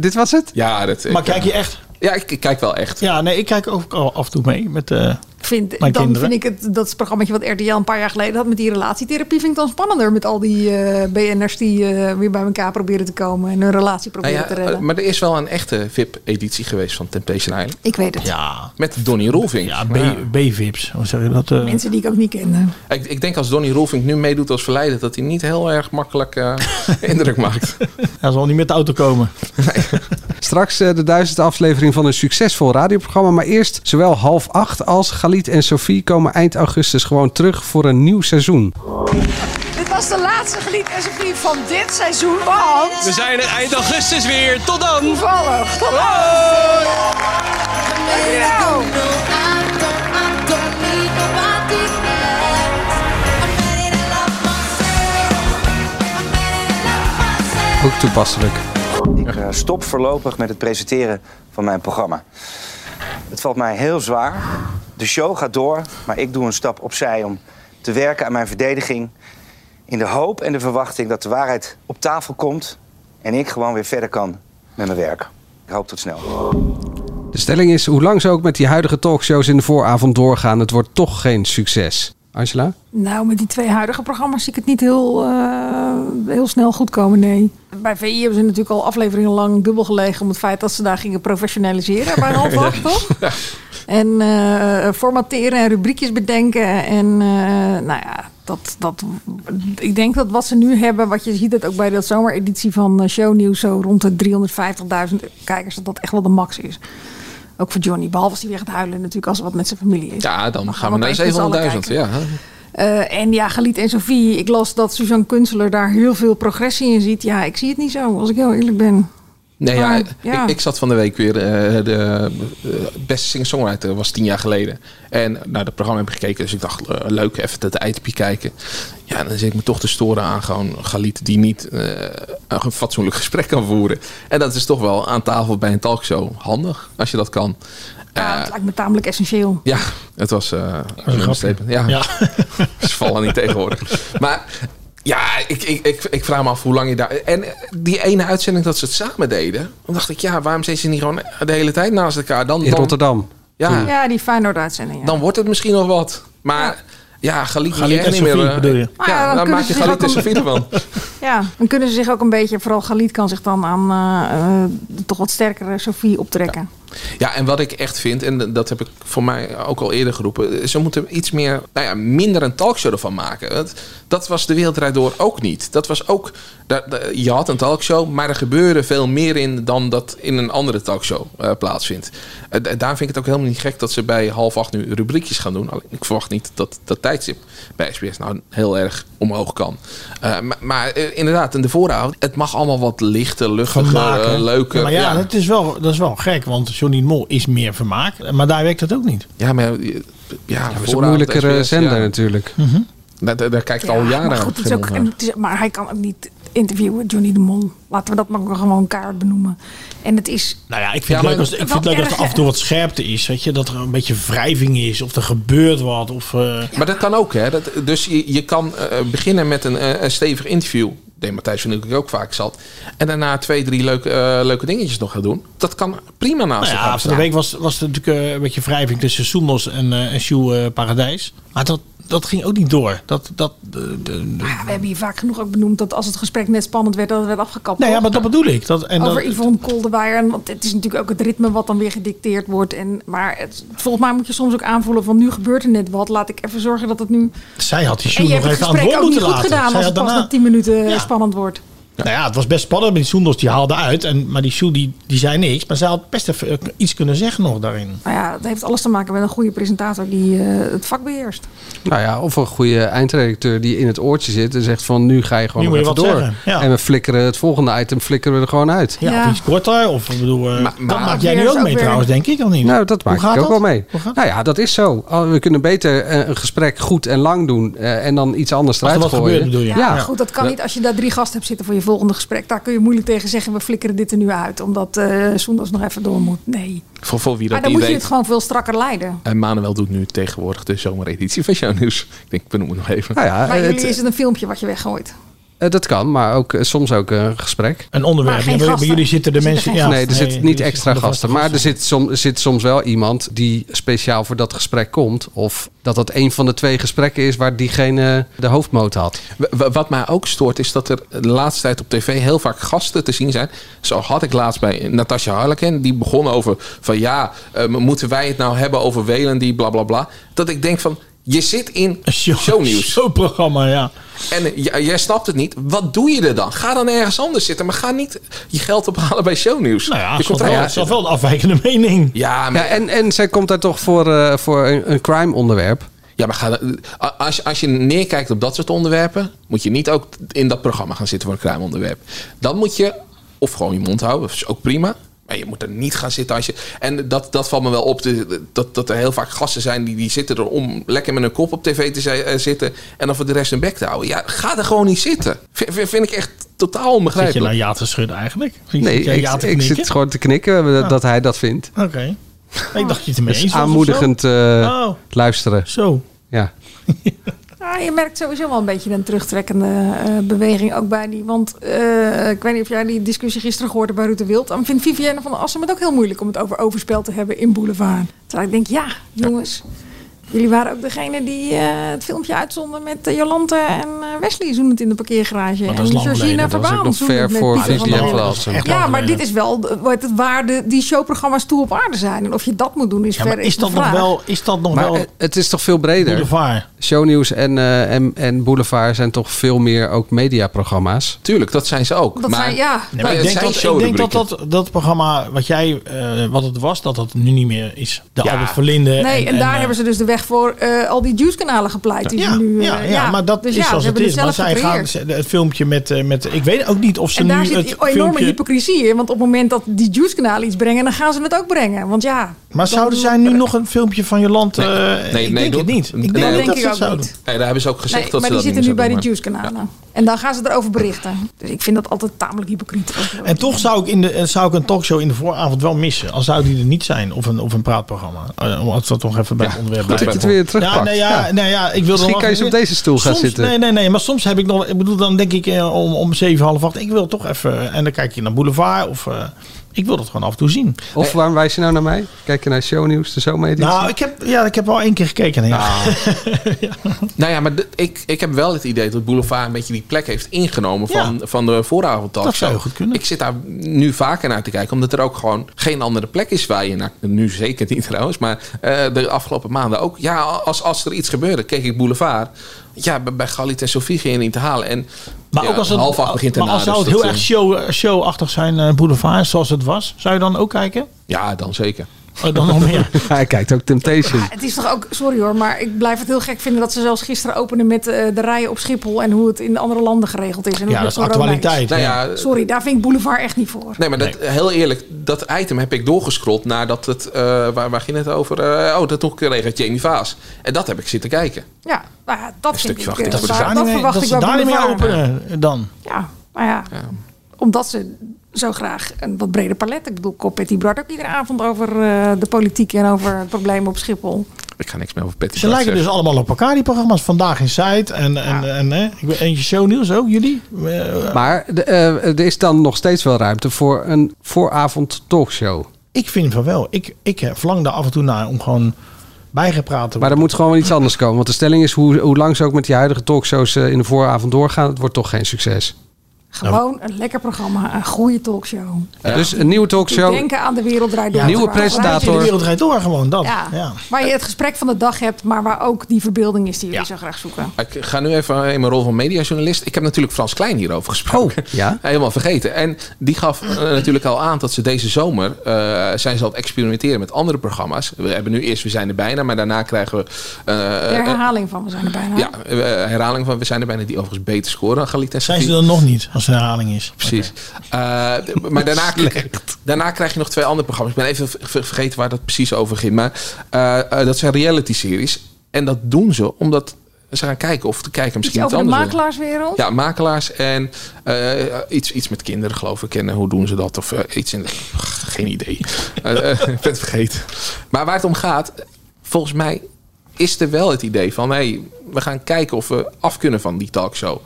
G: Dit was het?
H: Ja, dat...
I: Maar kijk je echt?
H: Ja, ik, ik kijk wel echt.
I: Ja, nee, ik kijk ook al af en toe mee met eh,
D: Vind,
I: mijn
D: dan
I: kinderen.
D: vind ik het, dat programmaatje wat RTL een paar jaar geleden had met die relatietherapie, vind ik dan spannender. Met al die eh, BN'ers die eh, weer bij elkaar proberen te komen en hun relatie
H: Nou
D: proberen
H: ja,
D: te redden.
H: eh, maar er is wel een echte VIP-editie geweest van Temptation Island.
D: ik weet het.
I: Ja.
H: Met Donny Roelvink. Ja,
I: B-vips. Hoe zeg je dat? eh?
D: Mensen die ik ook niet kende.
H: Ik, ik denk als Donny Roelvink nu meedoet als verleider... dat hij niet heel erg makkelijk eh, indruk maakt.
I: Hij zal niet met de auto komen.
G: Straks eh, de duizendste aflevering van een succesvol radioprogramma. Maar eerst, zowel half acht als Galit en Sophie komen eind augustus gewoon terug voor een nieuw seizoen.
C: Dit was de laatste gelied en Sophie van dit seizoen. Want...
M: We zijn er eind augustus weer. Tot dan.
C: Toevallig. Tot
K: No, I don't, I don't need nobody else. I'm ready to love myself.
G: Ook toepasselijk.
J: Ik eh, stop voorlopig met het presenteren van mijn programma. Het valt mij heel zwaar. De show gaat door, maar ik doe een stap opzij om te werken aan mijn verdediging. In de hoop en de verwachting dat de waarheid op tafel komt en ik gewoon weer verder kan met mijn werk. Ik hoop tot snel.
G: De stelling is, hoe lang ze ook met die huidige talkshows in de vooravond doorgaan, het wordt toch geen succes. Angela?
D: Nou, met die twee huidige programma's zie ik het niet heel, eh, heel snel goed komen, nee. Bij VI hebben ze natuurlijk al afleveringen lang dubbel gelegen om het feit dat ze daar gingen professionaliseren bij een half acht, toch? Ja. En eh, formateren en rubriekjes bedenken. En eh, nou ja, dat, dat, ik denk dat wat ze nu hebben, wat je ziet dat ook bij dat zomereditie van eh, Shownieuws, zo rond de 350.000 kijkers, dat dat echt wel de max is. Ook voor Johnny, behalve als hij weer gaat huilen natuurlijk als er wat met zijn familie is.
H: Ja, dan gaan we
D: we
H: naar
D: opeens met z'n allen
H: 700.000. Ja.
D: Eh, en ja, Galit en Sophie, ik las dat Suzanne Kunstler daar heel veel progressie in ziet. Ja, ik zie het niet zo, als ik heel eerlijk ben.
H: Nee, ja,
D: Maar,
H: ik-
D: Oh, ja.
H: Ik, zat van de week weer. eh, de eh, beste singer-songwriter was tien jaar geleden. En naar het programma heb ik gekeken. Dus ik dacht, eh, leuk, even dat ITP kijken. Ja, dan zit ik me toch te storen aan gewoon Galit die niet eh, een fatsoenlijk gesprek kan voeren. En dat is toch wel aan tafel bij een talkshow handig, als je dat kan. Eh,
D: Ja, het lijkt me tamelijk essentieel.
H: Ja, het was eh, een understatement. Ja, ze vallen niet tegenwoordig. Maar ja, ik, ik, ik, ik vraag me af hoe lang je daar... En die ene uitzending dat ze het samen deden... dan dacht ik, ja, waarom zitten ze niet gewoon de hele tijd naast elkaar? Dan,
G: In
H: dan-
G: Rotterdam.
H: Ja,
D: Ja, die Feyenoord-uitzending. Ja.
H: dan wordt het misschien nog wat. Maar ja, Galit
I: Galit
H: niet
I: en
H: niet meer...
I: Sophie,
H: eh,
I: bedoel je?
D: Maar Ah ja,
H: Ja,
D: dan
H: dan
D: kunnen
H: maak je
D: ze zich
H: Galit en
D: ook een-
H: Sophie ervan.
D: Ja, dan kunnen ze zich ook een beetje, vooral Galit kan zich dan aan eh, eh, de toch wat sterkere Sofie optrekken.
H: Ja, en wat ik echt vind, en dat heb ik voor mij ook al eerder geroepen, ze moeten iets meer, nou ja, minder een talkshow ervan maken. Want dat was de wereldrijd door ook niet. Dat was ook, daar- daar- je had een talkshow, maar er gebeurde veel meer in dan dat in een andere talkshow eh, plaatsvindt. Eh, d- daar vind ik het ook helemaal niet gek dat ze bij half acht nu rubriekjes gaan doen. Alleen, ik verwacht niet dat dat tijdstip bij SBS nou heel erg omhoog kan. Eh, maar maar eh, inderdaad, in de vooravond, het mag allemaal wat lichter, luchtiger, eh, leuker.
I: maar ja, Dat, is wel, dat is wel gek, want Johnny Mol is meer vermaak. Maar daar werkt dat ook niet.
H: Ja, maar eh, ja,
G: Het is een moeilijkere zender natuurlijk.
I: Hm.
H: Daar, daar- daar kijkt al jaren
D: maar,
H: aan.
D: goed, het is ook, en het is- maar hij kan ook niet interviewen, Johnny de Mol. Laten we dat maar gewoon kaart benoemen. En het is...
I: Nou ja, ik
D: Ja,
I: vind
D: maar
I: het leuk, als, ik
D: wat
I: vind het leuk dat er
D: erg,
I: af en toe wat scherpte is. Weet je, dat er een beetje wrijving is of er gebeurt wat. Of, eh,
H: Maar dat kan ook, hè? Dat, dus je, je kan eh, beginnen met een, eh, een stevig interview. De Matthijs van Nieuwkerk ook vaak zat. En daarna twee, drie leuke, eh, leuke dingetjes nog gaan doen. Dat kan prima naast
I: Nou
H: elkaar
I: ja, van de
H: staan.
I: week was, was er natuurlijk eh, een beetje wrijving tussen Soenos en, eh en Sjoe eh, Paradijs. Maar dat, dat ging ook niet door. Dat, dat, eh, de- de-
D: Maar ja, we hebben hier vaak genoeg ook benoemd dat als het gesprek net spannend werd, dat het werd afgekapt.
I: nee, Nou ja,
D: toch?
I: maar dat bedoel ik. Dat, en
D: Over
I: dat,
D: Yvonne Kolderweijer. En Want het is natuurlijk ook het ritme wat dan weer gedicteerd wordt. En, maar het, volgens mij moet je soms ook aanvoelen van nu gebeurt er net wat. Laat ik even zorgen dat het nu...
I: zij had die
D: en
I: Sjoe
D: je
I: nog
D: hebt het
I: even aan het
D: gesprek
I: woord
D: ook niet
I: moeten
D: goed
I: laten.
D: gedaan
I: Zij
D: als
I: had
D: het pas
I: daarna-
D: na 10 minuten eh, spannend wordt.
I: Nou ja, het was best spannend. Die Soendos die haalde uit. En, maar die Sjoe die, die zei niks. Maar zij had best even eh, iets kunnen zeggen nog daarin.
D: Nou ja, het heeft alles te maken met een goede presentator die eh, het vak beheerst.
G: Nou ja, of een goede eindredacteur die in het oortje zit en zegt van nu ga je gewoon
I: Nu
G: nog
I: moet je
G: even
I: wat
G: door.
I: zeggen, ja.
G: En we flikkeren het volgende item flikkeren we er gewoon uit.
I: Ja, Of iets korter. Of ik bedoel, eh, dat
G: maar-
I: maak jij nu ook mee trouwens, denk ik, of niet?
G: Nou, dat
I: Hoe
G: maak ik
I: gaat
G: ook
I: dat?
G: wel mee. Nou ja, dat is zo. Al- We kunnen beter eh, een gesprek goed en lang doen eh, en dan iets anders
I: Als er
G: eruit
I: wat
G: gooien.
I: gebeurt, bedoel je?
D: Ja, maar goed, dat kan niet als je daar drie gasten hebt zitten voor je volgende gesprek. Daar kun je moeilijk tegen zeggen, we flikkeren dit er nu uit. Omdat eh zondags nog even door moet. Nee.
H: Voor, voor wie
D: Maar
H: dat
D: dan
H: niet
D: moet je
H: weet.
D: het gewoon veel strakker leiden.
H: En Manuel doet nu tegenwoordig de zomereditie van jouw nieuws. Ik denk, ik benoem het nog even.
G: Nou ja,
D: Bij
G: eh,
D: jullie
G: het-
D: is het een filmpje wat je weggooit.
G: eh, dat kan, maar ook, eh, soms ook een gesprek.
I: Een onderwerp.
D: Maar
I: Ja,
D: geen
I: bij- bij
D: gasten.
I: jullie zitten de
D: Er
I: mensen...
D: zitten
I: ja,
D: geen
G: nee, er zitten niet
I: er
G: extra
I: zitten
G: gasten. Maar er zit, som, zit soms wel iemand die speciaal voor dat gesprek komt. Of dat dat een van de twee gesprekken is waar diegene de hoofdmoot had.
H: W- w- Wat mij ook stoort is dat er de laatste tijd op tv heel vaak gasten te zien zijn. Zo had ik laatst bij Natasha Harleken. Die begon over van ja, eh, moeten wij het nou hebben over Welen die bla bla bla. Dat ik denk van, je zit in shownieuws.
I: Zo'n programma, ja.
H: En eh, j- jij snapt het niet. Wat doe je er dan? Ga dan ergens anders zitten. Maar ga niet je geld ophalen bij shownieuws.
I: Nou ja,
H: je
I: het is
H: er
I: wel-
H: wel-
I: het is wel een afwijkende mening.
H: Ja, maar,
G: Ja, en, en zij komt daar toch voor, eh, voor een, een crime onderwerp.
H: ja, maar ga, a- als, je- als je neerkijkt op dat soort onderwerpen... moet je niet ook in dat programma gaan zitten voor een crime onderwerp. Dan moet je of gewoon je mond houden. Dat is ook prima. Maar je moet er niet gaan zitten als je... En dat, dat valt me wel op. de- Dat, dat er heel vaak gasten zijn die, die zitten er om... lekker met een kop op tv te zi- eh, zitten... en dan voor de rest hun bek te houden. Ja, ga er gewoon niet zitten. Vind, vind- vind ik echt totaal
I: Zit je
H: onbegrijpelijk.
I: nou ja te schudden eigenlijk? Zit
G: Nee,
I: jij
G: ik,
I: ja te
G: ik
I: knikken?
G: zit gewoon te knikken eh, dat, dat hij dat vindt.
I: Oké. Ik dacht dat je het ermee
G: Dat is
I: eens was of
G: aanmoedigend
I: zo.
G: eh,
I: Oh,
G: luisteren.
I: zo.
G: Ja.
D: Ja, Nou, je merkt sowieso wel een beetje een terugtrekkende eh, beweging ook bij die. Want eh, ik weet niet of jij die discussie gisteren gehoord hebt bij Rutte Wild. Dan vindt Vivienne van der Assen het ook heel moeilijk om het over overspel te hebben in Boulevard. Terwijl ik denk, ja, jongens. Jullie waren ook degene die eh, het filmpje uitzonden met eh, Jolante en eh, Wesley zoenend in de parkeergarage.
G: Maar dat
D: en
G: is lang
D: Georgina
G: geleden. Dat was
D: Verbaan
G: ook nog
D: zoenend
G: ver
D: met
G: voor
D: Pieter van
G: Vivian
D: der Wal.
G: Classen. Echt lang
D: Ja, maar
G: geleden.
D: dit is wel de- wat het waar de, die showprogramma's toe op aarde zijn. En of je dat moet doen is
G: Ja, maar
D: verder
G: is dat
D: de
G: nog
D: vraag.
G: wel-
I: Is dat nog
G: Maar
I: wel...
G: eh, het is toch veel breder?
I: Boulevard.
G: Shownieuws en, eh, en, en Boulevard zijn toch veel meer ook mediaprogramma's?
H: Tuurlijk, dat zijn ze ook.
D: Dat Maar- zijn- ja.
I: Nee, maar ik denk, dat, ik denk dat, dat dat programma wat jij eh, wat het was, dat dat nu niet meer is. De Albert Verlinde.
D: Nee, en, daar hebben ze dus de weg voor eh, al die juice-kanalen gepleit. Die
I: eh, Ja,
D: ze nu, eh,
I: ja, ja, maar dat
D: dus
I: is
D: ja,
I: als
D: ze
I: het
D: hebben
I: is. Maar
D: zelf
I: zij gaan
D: gecreëerd.
I: ze- het filmpje met, eh, met. Ik weet ook niet of ze
D: En daar
I: nu
D: zit
I: het
D: een enorme
I: filmpje.
D: hypocrisie in. Want op het moment dat die juice-kanalen iets brengen, dan gaan ze het ook brengen. Want ja,
I: Maar zouden zij nu nog een filmpje van Joland? Nee, ik denk
H: doe-
I: het niet. Ik
D: dat
I: niet
D: denk
I: dat
D: ik
I: ze
D: ook
I: het zouden
D: niet.
I: doen.
H: Nee, daar hebben ze ook gezegd
D: Nee,
H: dat
D: maar
H: ze
D: die
H: dat
D: zitten
H: niet
D: nu
H: meer
D: bij de
H: zouden
D: juice-kanalen. En dan gaan ze erover berichten. Dus ik vind dat altijd tamelijk hypocriet.
I: En toch zou ik, in de, eh, zou ik een talkshow in de vooravond wel missen. Al zou die er niet zijn. Of een, of een praatprogramma. Eh, Om als dat toch even bij het onderwerp
G: goed dat
I: blijft.
G: je het weer terugpakt.
I: Ja, nee, ja,
G: Ja.
I: nee, ja, ik wil
G: Misschien
I: nog
G: kan je eens op deze stoel gaan
I: Soms-
G: zitten.
I: Nee, nee, nee. Maar soms heb ik nog... Ik bedoel, dan denk ik eh, om, om zeven, half acht. Ik wil toch even... eh, En dan kijk je naar Boulevard of... eh, ik wil dat gewoon af en toe zien.
G: Of waarom wijs je nou naar mij? Kijk je naar shownieuws, de zomereditie?
I: Eh, Nou, ik heb, ja, ik heb wel één keer gekeken. Ja.
G: Nou,
H: maken. Nou ja, maar de- ik, ik heb wel het idee dat Boulevard een beetje die plek heeft ingenomen van, van de vooravondtalk.
I: Dat zou goed kunnen.
H: Ik zit daar nu vaker naar te kijken, omdat er ook gewoon geen andere plek is waar je naar... Nu zeker niet trouwens, maar eh, de afgelopen maanden ook. Ja, als, als er iets gebeurde, keek ik Boulevard. Ja, bij bij Galit en Sofie ging je niet te halen. En,
I: Maar
H: ja,
I: ook als het,
H: half acht begint
I: maar
H: erna,
I: als zou
H: dus
I: het heel
H: dat,
I: erg
H: eh,
I: show, showachtig zijn, eh, Boulevard, zoals het was. Zou je dan ook kijken?
H: Ja, dan zeker.
I: Oh, dan nog meer.
G: Hij kijkt ook Temptation.
D: Het is toch ook, sorry hoor, maar ik blijf het heel gek vinden dat ze zelfs gisteren openen met eh, de rijen op Schiphol en hoe het in andere landen geregeld is. En hoe
H: Ja,
D: het
H: dat is
D: corona
H: actualiteit,
D: is.
H: Nou ja.
D: sorry, daar vind ik Boulevard echt niet voor.
H: Nee, maar dat, heel eerlijk, dat item heb ik doorgescrollt nadat het. eh, waar, waar ging het over? Eh, oh, dat nog kreeg het Jamie Vaas. En dat heb ik zitten kijken.
D: Ja, nou ja, dat vind
H: stukje
D: ik.
H: wachten
D: eh,
H: tot ze
D: daar-
H: daar
D: dat
H: niet
D: verwacht
I: dat
D: ik
I: ze
D: wel
I: daar niet meer
D: Boulevard.
I: openen eh, dan.
D: Ja, maar ja, omdat ze zo graag een wat breder palet. Ik bedoel, Copetti bracht ook iedere avond over eh, de politiek en over het probleem op Schiphol.
H: Ik ga niks meer over Petty
I: Ze
H: Bart
I: lijken dus
H: zeggen.
I: allemaal op elkaar, die programma's. Vandaag in Zuid en, en, en, hè, ik weet eentje shownieuws ook, jullie? Eh,
G: Maar de, eh, er is dan nog steeds wel ruimte voor een vooravond talkshow.
I: Ik vind van wel. Ik, ik eh, verlang daar af en toe naar om gewoon bijgepraat te
G: Maar er moet gewoon wel iets anders komen. Want de stelling is, hoe, hoe lang ze ook met die huidige talkshows eh, in de vooravond doorgaan, het wordt toch geen succes.
D: Gewoon een lekker programma, een goede talkshow.
G: Dus een nieuwe
D: Show.
G: talkshow.
D: Denken aan de wereld draait door.
G: Ja, nieuwe
D: Waar-
G: presentator.
I: De wereld rijdt door gewoon, dat.
D: Ja.
I: Ja.
D: Waar je het gesprek van de dag hebt, maar waar ook die verbeelding is die jullie zo graag zoeken.
H: Ik ga nu even in mijn rol van mediajournalist. Ik heb natuurlijk Frans Klein hierover
I: Oh,
H: gesproken.
G: ja?
H: Helemaal vergeten. En die gaf eh, natuurlijk al aan dat ze deze zomer eh, zijn ze al het experimenteren met andere programma's. We hebben nu eerst We zijn er bijna, maar daarna krijgen we
D: De
H: eh, eh,
D: herhaling van, we zijn er bijna.
H: Ja, eh, herhaling van We zijn er bijna, die overigens beter scoren dan Galit en
I: Zijn ze
H: Sofie.
I: dan nog niet, als er een herhaling is?
H: Precies. Eh, d- maar daarna, daarna krijg je nog twee andere programma's. Ik ben even ver- ver- vergeten waar dat precies over ging. Maar eh, eh, dat zijn reality-series. En dat doen ze omdat ze gaan kijken of de kijker
D: Iets
H: misschien
D: over de
H: anders wil.
D: makelaarswereld.
H: Ja, makelaars en eh, iets, iets met kinderen, geloof ik. En hoe doen ze dat? Of eh, iets in. Geen idee. Eh, eh, Ik ben het vergeten. Maar waar het om gaat, volgens mij is er wel het idee van: hé, we gaan kijken of we af kunnen van die talkshow.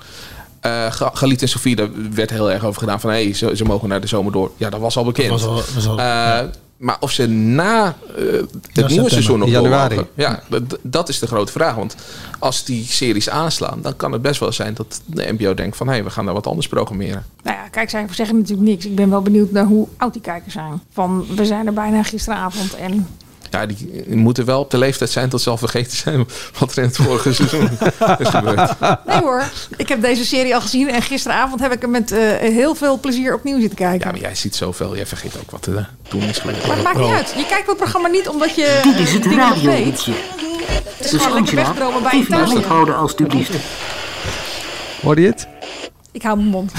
H: Eh, Ga- Galit en Sofie, daar werd heel erg over gedaan van hé, ze, ze mogen naar de zomer door. Ja, dat was al bekend.
I: Dat was al- dat was al-
H: Eh, Maar of ze na eh, het nieuwe
I: september.
H: seizoen nog
G: Januari.
H: door mogen. Ja, dat, dat is de grote vraag. Want als die series aanslaan, dan kan het best wel zijn dat de NPO denkt van hé, hey, we gaan daar wat anders programmeren.
D: Nou ja, kijkcijfers zeggen natuurlijk niks. Ik ben wel benieuwd naar hoe oud die kijkers zijn. Van, we zijn er bijna gisteravond en
H: Ja, die moeten wel op de leeftijd zijn dat ze al vergeten zijn wat er in het vorige seizoen is gebeurd.
D: Nee hoor, ik heb deze serie al gezien en gisteravond heb ik hem met eh, heel veel plezier opnieuw zitten kijken.
H: Maar jij ziet zoveel, jij vergeet ook wat er toen is gebeurd.
D: maar het maakt niet uit. Je kijkt dat programma niet omdat je eh,
P: Dit is het
D: dingen nog weet.
P: radiohoekje.
D: Het is
P: Dus
D: gewoon lekker
P: Angela,
D: wegdromen bij je
P: blijf naast het
D: thuis.
P: houden alstublieft.
G: Hoorde je het?
D: Ik hou mijn mond.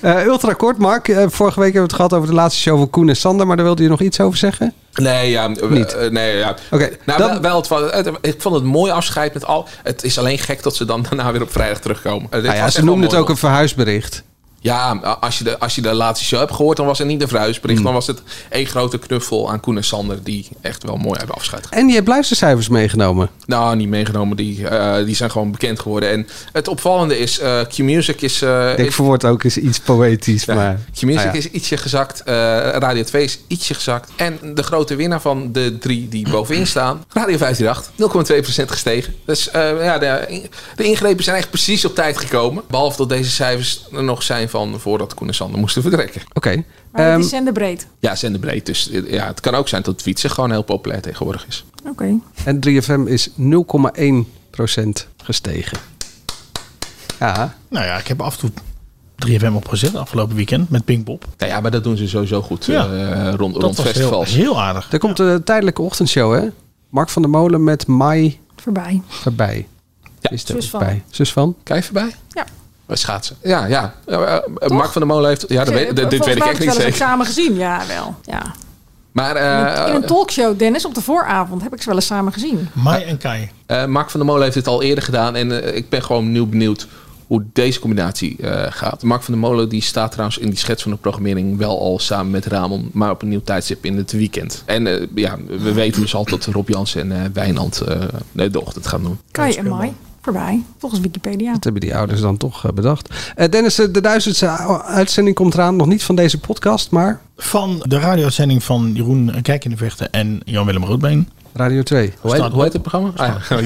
G: Eh, ultra kort, Mark. Eh, vorige week hebben we het gehad over de laatste show van Koen en Sander. Maar daar wilde je nog iets over zeggen?
H: Nee, ja. eh, eh, nee, ja. nou, wel, wel, het, wa- het- ik vond het een mooi afscheid met al. Het is alleen gek dat ze dan daarna weer op vrijdag terugkomen. Eh, dit
G: Nou ja,
H: was
G: ze
H: echt wel
G: noemde het
H: mooi,
G: ook een verhuisbericht.
H: Ja, als je, de, als je de laatste show hebt gehoord, dan was het niet een verhuisbericht.
G: Hmm.
H: Dan was het één grote knuffel aan Koen en Sander, die echt wel mooi hebben afscheid gegeven.
G: En je hebt luistercijfers meegenomen.
H: Nou, niet meegenomen. Die, eh, die zijn gewoon bekend geworden. En het opvallende is, eh, Q-Music is... eh,
G: Ik denk
H: is-
G: verwoord ook eens iets poëtisch, maar...
H: Q-Music
G: Nou ja.
H: is ietsje gezakt. eh, Radio 2 is ietsje gezakt. En de grote winnaar van de drie die bovenin staan... Radio 538, 0,2% gestegen. Dus eh, ja, de, de ingrepen zijn echt precies op tijd gekomen. Behalve dat deze cijfers er nog zijn van voordat Koen en Sander moesten vertrekken.
G: Oké. Ehm,
D: Maar
H: Ehm,
D: het is zenderbreed.
H: Ja, zenderbreed. Dus eh, ja, het kan ook zijn dat fietsen gewoon heel populair tegenwoordig is.
D: Oké.
G: En 3FM is 0,1% gestegen. Ja.
I: Nou ja, ik heb af en toe 3FM opgezet afgelopen weekend met Pink Bob.
H: Nou ja, maar dat doen ze sowieso goed eh, rond,
I: dat
H: rond
I: was heel-
H: festivals.
I: Heel, aardig.
G: Er komt de tijdelijke ochtendshow, hè? Mark van der Molen met Mai
D: Voorbij.
G: voorbij. is er
D: Zus
G: ook
D: van.
G: bij. Zus van?
H: Kijk voorbij?
D: Ja.
H: Bij schaatsen. Ja, ja. Eh, eh, Mark van der Molen heeft... Ja, dat weet- dit- dit
D: Volgens
H: weet ik
D: mij
H: echt niet
D: heb ik
H: zeker.
D: ze samen gezien, ja wel. Ja.
H: Maar
D: In
H: eh
D: een talkshow, Dennis, op de vooravond heb ik ze wel eens samen gezien.
I: Mai en Kai.
H: eh, Mark van der Molen heeft dit al eerder gedaan. En eh, ik ben gewoon nieuw benieuwd hoe deze combinatie eh, gaat. Mark van der Molen die staat trouwens in die schets van de programmering... wel al samen met Ramon, maar op een nieuw tijdstip in het weekend. En eh, ja, we weten dus al dat Rob Jansen en eh, Wijnand eh, nee, de ochtend gaan doen.
D: Kai en Mai, voorbij. Volgens Wikipedia.
G: Dat hebben die ouders dan toch eh, bedacht. Eh, Dennis, eh, de duizendste u- uitzending komt eraan. Nog niet van deze podcast, maar
I: Van de radio-uitzending van Jeroen Kijk in de Vechten en Jan-Willem Roodbeen.
G: Radio 2.
H: Hoe heet, hoe heet het programma? Ah, ja.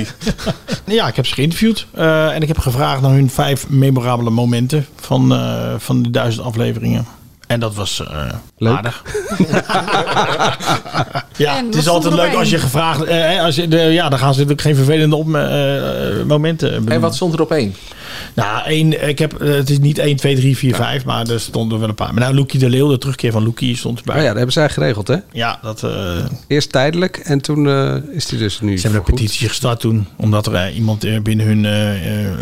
I: Ja, ik heb ze geïnterviewd. eh, en ik heb gevraagd naar hun vijf memorabele momenten van, eh, van de duizend afleveringen. En dat was eh
G: Leuk.
I: aardig. ja,
K: En
I: het
K: wat
I: is
K: stond
I: altijd leuk
K: erbij?
I: als je gevraagd... eh, hè, als je, de, ja, dan gaan ze natuurlijk geen vervelende op, eh, momenten benoemen.
H: En wat stond er op één?
I: Nou, één, ik heb, eh, het is niet 1, 2, 3, 4, 5, maar er stonden wel een paar. Maar nou, Loekie de Leeuw, de terugkeer van Loekie stond erbij.
G: Oh ja, dat hebben zij geregeld, hè?
I: Ja, dat... eh,
G: Eerst tijdelijk en toen eh, is die dus nu.
I: Ze hebben een petitie gestart toen, omdat er eh, iemand eh, binnen hun eh, eh,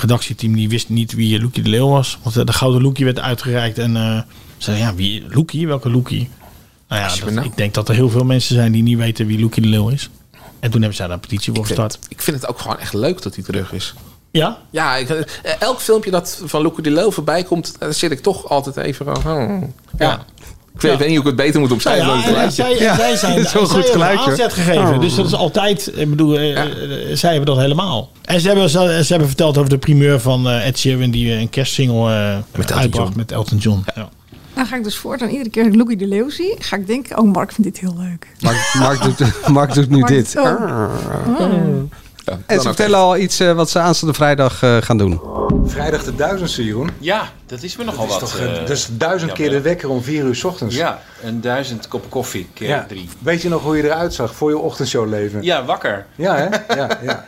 I: redactieteam die wist niet wie eh, Loekie de Leeuw was. Want eh, de gouden Loekie werd uitgereikt en eh, ze zeiden, ja, wie Loekie? Welke Loekie? Nou ja, dat- ik denk dat er heel veel mensen zijn die niet weten wie Loekie de Leeuw is. En toen hebben zij daar een petitie voor
H: Ik vind,
I: gestart.
H: ik vind het ook gewoon echt leuk dat hij terug is.
I: Ja?
H: Ja, ik, eh, elk filmpje dat van Luca de Leeuw voorbij komt, daar zit ik toch altijd even van. hmm, ja. Ik weet,
I: Ja.
H: weet niet hoe ik het beter moet omschrijven.
I: Nou
H: dan
I: ja,
H: het
I: en
H: geluidje.
I: zij, en zij zijn zij hebben een aanzet gegeven. Dus dat is altijd, ik bedoel, eh, eh, zij hebben dat helemaal. En ze hebben, ze, ze hebben verteld over de primeur van eh, Ed Sheeran die eh, een kerstsingle eh uitbracht met Elton John. Ja.
D: Nou ga ik dus voort. En iedere keer dat ik Loekie de Leeuw zie, ga ik denken, oh Mark vindt dit heel leuk.
G: Mark, Mark doet, Mark doet nu
D: Mark
G: dit.
D: doet- oh.
G: Arr.
D: Mm.
G: En ze vertellen al iets eh, wat ze aanstaande vrijdag eh, gaan doen.
P: Vrijdag de duizendste, Jeroen.
Q: Ja, dat is me nogal
P: dat
Q: wat.
P: Is toch,
Q: eh,
P: een- dat is duizend
Q: ja,
P: keer de wekker om vier uur 's ochtends.
Q: Ja, een duizend kop koffie keer
P: Ja.
Q: drie.
P: Weet je nog hoe je eruit zag voor je ochtendshow leven?
Q: Ja, wakker.
P: Ja, hè? Ja, ja.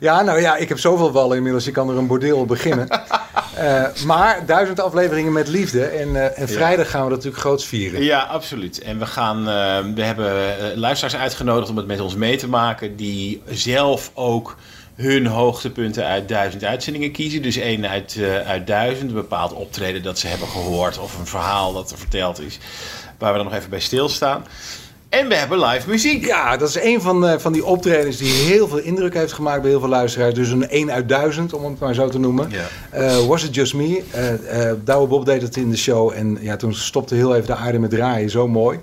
P: ja, nou ja, ik heb zoveel ballen inmiddels. Ik kan er een bordeel op beginnen. Eh, maar duizend afleveringen met liefde. En, eh, en
Q: Ja.
P: vrijdag gaan we dat natuurlijk groots vieren.
Q: Ja, absoluut. En we, gaan, eh, we hebben eh, luisteraars uitgenodigd om het met ons mee te maken. Die zelf ook hun hoogtepunten uit duizend uitzendingen kiezen. Dus één uit, eh, uit duizend. Een bepaald optreden dat ze hebben gehoord. Of een verhaal dat er verteld is. Waar we dan nog even bij stilstaan. En we hebben live muziek.
P: Ja, dat is een van, eh, van die optredens die heel veel indruk heeft gemaakt bij heel veel luisteraars. Dus een 1 uit 1000, om het maar zo te noemen. Eh, was It Just Me? Eh eh Douwe Bob deed het in de show. En ja, toen stopte heel even de aarde met draaien. Zo mooi.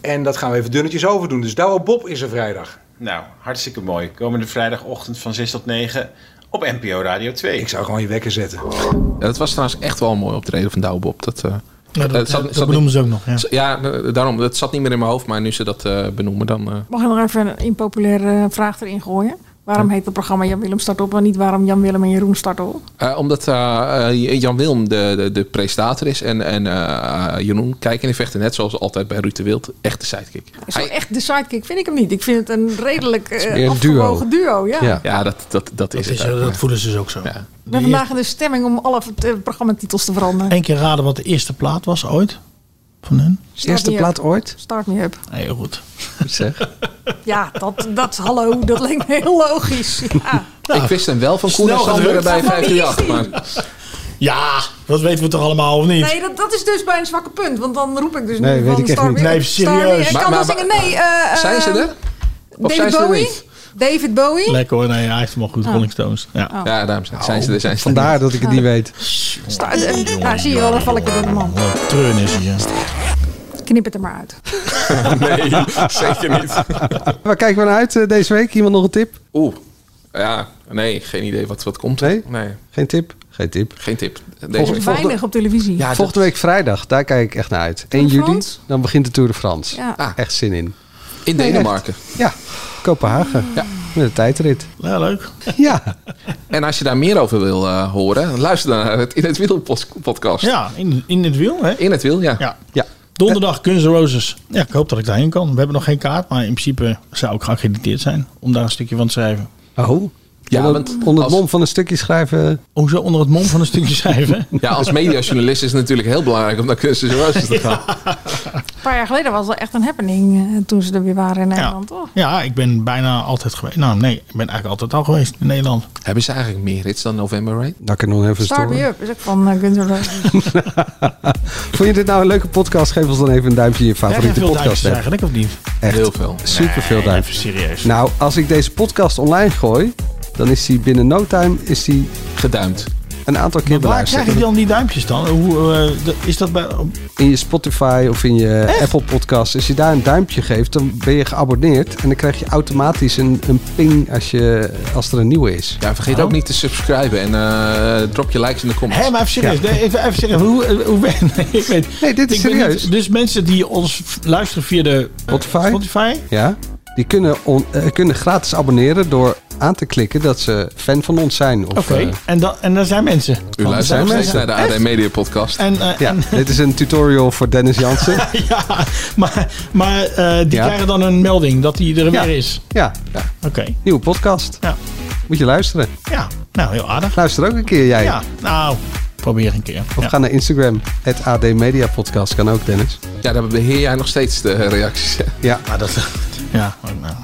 P: En dat gaan we even dunnetjes overdoen. Dus Douwe Bob is er vrijdag.
Q: Nou, hartstikke mooi. Komende vrijdagochtend van 6 tot 9 op NPO Radio 2. Ik
P: zou gewoon je wekker zetten.
H: Ja, dat was trouwens echt wel een mooi optreden van Douwe Bob. Dat, eh,
I: dat-
H: het
I: dat benoemen ze ook nog, ja.
H: z- Ja, eh, daarom. Dat zat niet meer in mijn hoofd, maar nu ze dat eh, benoemen, dan. eh,
D: Mag ik nog even een impopulaire eh, vraag erin gooien? Waarom heet het programma Jan Willem start op en niet waarom Jan Willem en Jeroen start op?
H: eh, omdat eh, eh, Jan Wilm de, de, de presentator is en, en eh, Jeroen kijken en vechten, net zoals altijd bij Ruud de Wild, echt de sidekick.
D: Zo echt de sidekick vind ik hem niet. Ik vind het een redelijk
H: meer
D: eh
H: een
D: afgewogen duo. ja.
H: Ja, dat, dat, dat, is
I: is,
H: het.
I: eh,
H: eigenlijk.
I: dat voelen ze dus ook zo.
D: We hebben vandaag in de stemming om alle eh, programmatitels te veranderen.
I: Eén keer raden wat de eerste plaat was ooit van hun.
D: Start Eerste me up. plaat
G: ooit?
D: Start me up.
I: Heel goed.
G: Zeg.
D: Ja, dat, dat hallo, dat leek me heel logisch.
H: ik
D: Ja.
H: wist hem wel van Koen en
I: snel
H: Sander
I: gedrukt.
H: bij
I: Maar wie is
H: 538,
I: die?
H: maar...
I: Ja, dat weten we toch allemaal of niet?
D: Nee, dat, dat is dus bij een zwakke punt. Want dan roep ik dus
I: Nee,
D: nu
I: weet
D: van
I: ik echt
D: Star
I: niet.
D: Me Up,
I: Nee,
D: Star Me
I: serieus.
D: Up. Ik
I: Maar-
D: kan wel
I: maar-
D: zingen, nee. eh, eh,
H: Zijn ze er? Of
D: David
H: zijn ze er
D: Bowie?
H: niet?
D: David Bowie?
I: Lekker hoor, nee, hij heeft hem al goed,
D: Oh.
I: Rolling Stones. Ja,
D: Oh.
H: ja daarom zijn ze er. Zijn ze
G: Nou, Vandaar dat ik het niet weet.
D: Sta- eh, nou, zie je wel, dan val ik weer door de
G: Nou,
D: man.
I: Oh, Wat treun is hier.
D: Knip het er maar uit.
H: nee, zeker niet.
G: Waar kijken we naar uit eh, deze week? Iemand nog een tip?
H: Oeh. Ja, nee, geen idee wat, wat komt.
G: Nee?
H: Nee,
G: Geen tip? Geen tip.
H: geen tip. Deze
D: Er
H: week.
D: is weinig op televisie.
G: Ja, Volgende week vrijdag, daar kijk ik echt naar uit. 1
D: de
G: juli,
D: France?
G: dan begint de Tour de France.
D: Ja. Ah.
G: Echt zin in.
H: In
G: Nee,
H: Denemarken.
G: echt. Ja, Kopenhagen. Met een tijdrit.
I: Ja, leuk.
G: Ja.
H: En als je daar meer over wil eh, horen, luister dan naar het In het Wiel pos- podcast.
I: Ja, in, in het wiel, hè?
H: In het wiel, ja.
I: Ja. Donderdag Guns N' Roses. Ja, ik hoop dat ik daarheen kan. We hebben nog geen kaart, maar in principe zou ik geaccrediteerd zijn om daar een stukje van te schrijven.
G: Oh. Ja,
H: Ja,
G: want
H: want
D: Mm.
G: onder
H: als-
G: het mom van een stukje schrijven.
I: Hoezo onder het mom van een stukje schrijven?
H: Ja, als mediajournalist is het natuurlijk heel belangrijk om naar Kunst en Roses te gaan.
D: Een paar jaar geleden was er echt een happening eh, toen ze er weer waren in Nederland, toch?
I: Ja, ik ben bijna altijd geweest. Nou, nee, ik ben eigenlijk altijd al geweest in Nederland.
H: Hebben ze eigenlijk meer hits dan November Rain?
G: Dat kan nog even
D: Start
G: storen.
D: Me Up is ook van eh, Guns N' Roses.
G: Vond je dit nou een leuke podcast? Geef ons dan even een duimpje in je
I: Krijg
G: favoriete
I: je veel
G: podcast.
I: duimpjes eigenlijk, of niet?
G: Echt.
H: Heel veel.
G: Super veel
I: Nee,
G: duimpjes.
I: Even serieus.
G: Nou, als ik deze podcast online gooi, dan is die binnen no time is die
H: Geduimd.
G: een aantal keer
I: Waar krijg
G: beluisterd.
I: je dan die duimpjes dan? Hoe, eh, de- is dat bij... op-
G: In je Spotify of in je Apple Podcast. Als je daar een duimpje geeft, dan ben je geabonneerd. En dan krijg je automatisch een, een ping als, je, als er een nieuwe is.
H: Ja, vergeet ook niet te subscriben en eh, drop je likes in de comments.
I: Hé, Oh. maar even serieus. Nee, even, even serieus. Hoe, eh, hoe ben nee, ik? Weet,
G: Nee, dit is
I: ik ben
G: serieus.
I: niet- dus mensen die ons f- luisteren via de eh,
G: Spotify?
I: Spotify
G: Ja. Die kunnen, on- eh, kunnen gratis abonneren door aan te klikken dat ze fan van ons zijn. eh, Oké.
I: Oké, en, dan, en daar Oh, zijn mensen.
H: U luistert nog
G: Zijn
H: steeds naar de AD
I: Echt?
H: Media podcast.
I: En, eh,
G: ja,
I: en-
G: dit is een tutorial voor Dennis Jansen.
I: ja, maar, maar eh, die
G: Ja.
I: krijgen dan een melding dat die er
G: Ja.
I: weer is.
G: ja,
I: Oké,
G: nieuwe podcast.
I: Ja.
G: Moet je luisteren.
I: ja. Nou, heel aardig.
G: Luister ook een keer jij.
I: Ja, nou, probeer een keer.
G: Of
I: Ja.
G: ga naar Instagram, het AD Media Podcast. Kan ook, Dennis.
H: Ja, daar beheer jij nog steeds de reacties. hè?
G: Ja,
I: Maar Ah, dat... Ja, nou.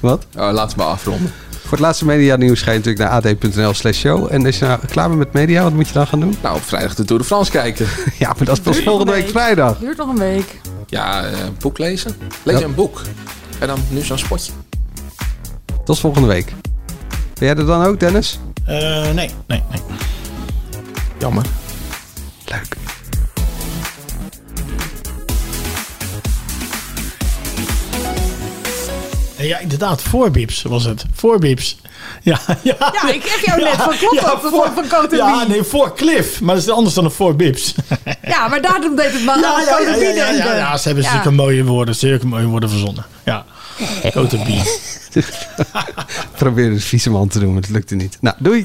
G: wat?
H: Oh, laten we maar afronden.
G: Voor het laatste media nieuws ga je natuurlijk naar ad.nl slash show. En als je nou klaar bent met media, wat moet je dan gaan doen?
H: Nou, op vrijdag de Tour de France kijken.
G: Ja, maar dat is pas
D: Duurt
G: volgende
D: nog een
G: week vrijdag.
D: Duurt nog een week.
H: Ja, eh, een boek lezen. Lees
G: Ja.
H: een boek. En dan nu zo'n spotje.
G: Tot volgende week. Ben jij er dan ook, Dennis?
I: Eh, nee, nee, nee.
H: Jammer.
G: Leuk.
I: Eh, Ja, inderdaad, voorbips was het. Voorbips. Ja, ja.
D: Ja, ik kreeg jou net van klopt op
I: voor-
D: van Cote de
I: Ja,
D: Bie.
I: nee, voor Cliff. Maar dat is anders dan een voor Bips.
D: Ja, maar daarom deed het me aan Cote de Bie
I: ja, ja,
D: denken.
I: ja, ze hebben
D: Ja.
I: zulke mooie woorden, zulke mooie woorden verzonnen. Ja, grote bier.
G: Probeer het vieze man te doen, maar het lukte niet. Nou, doei.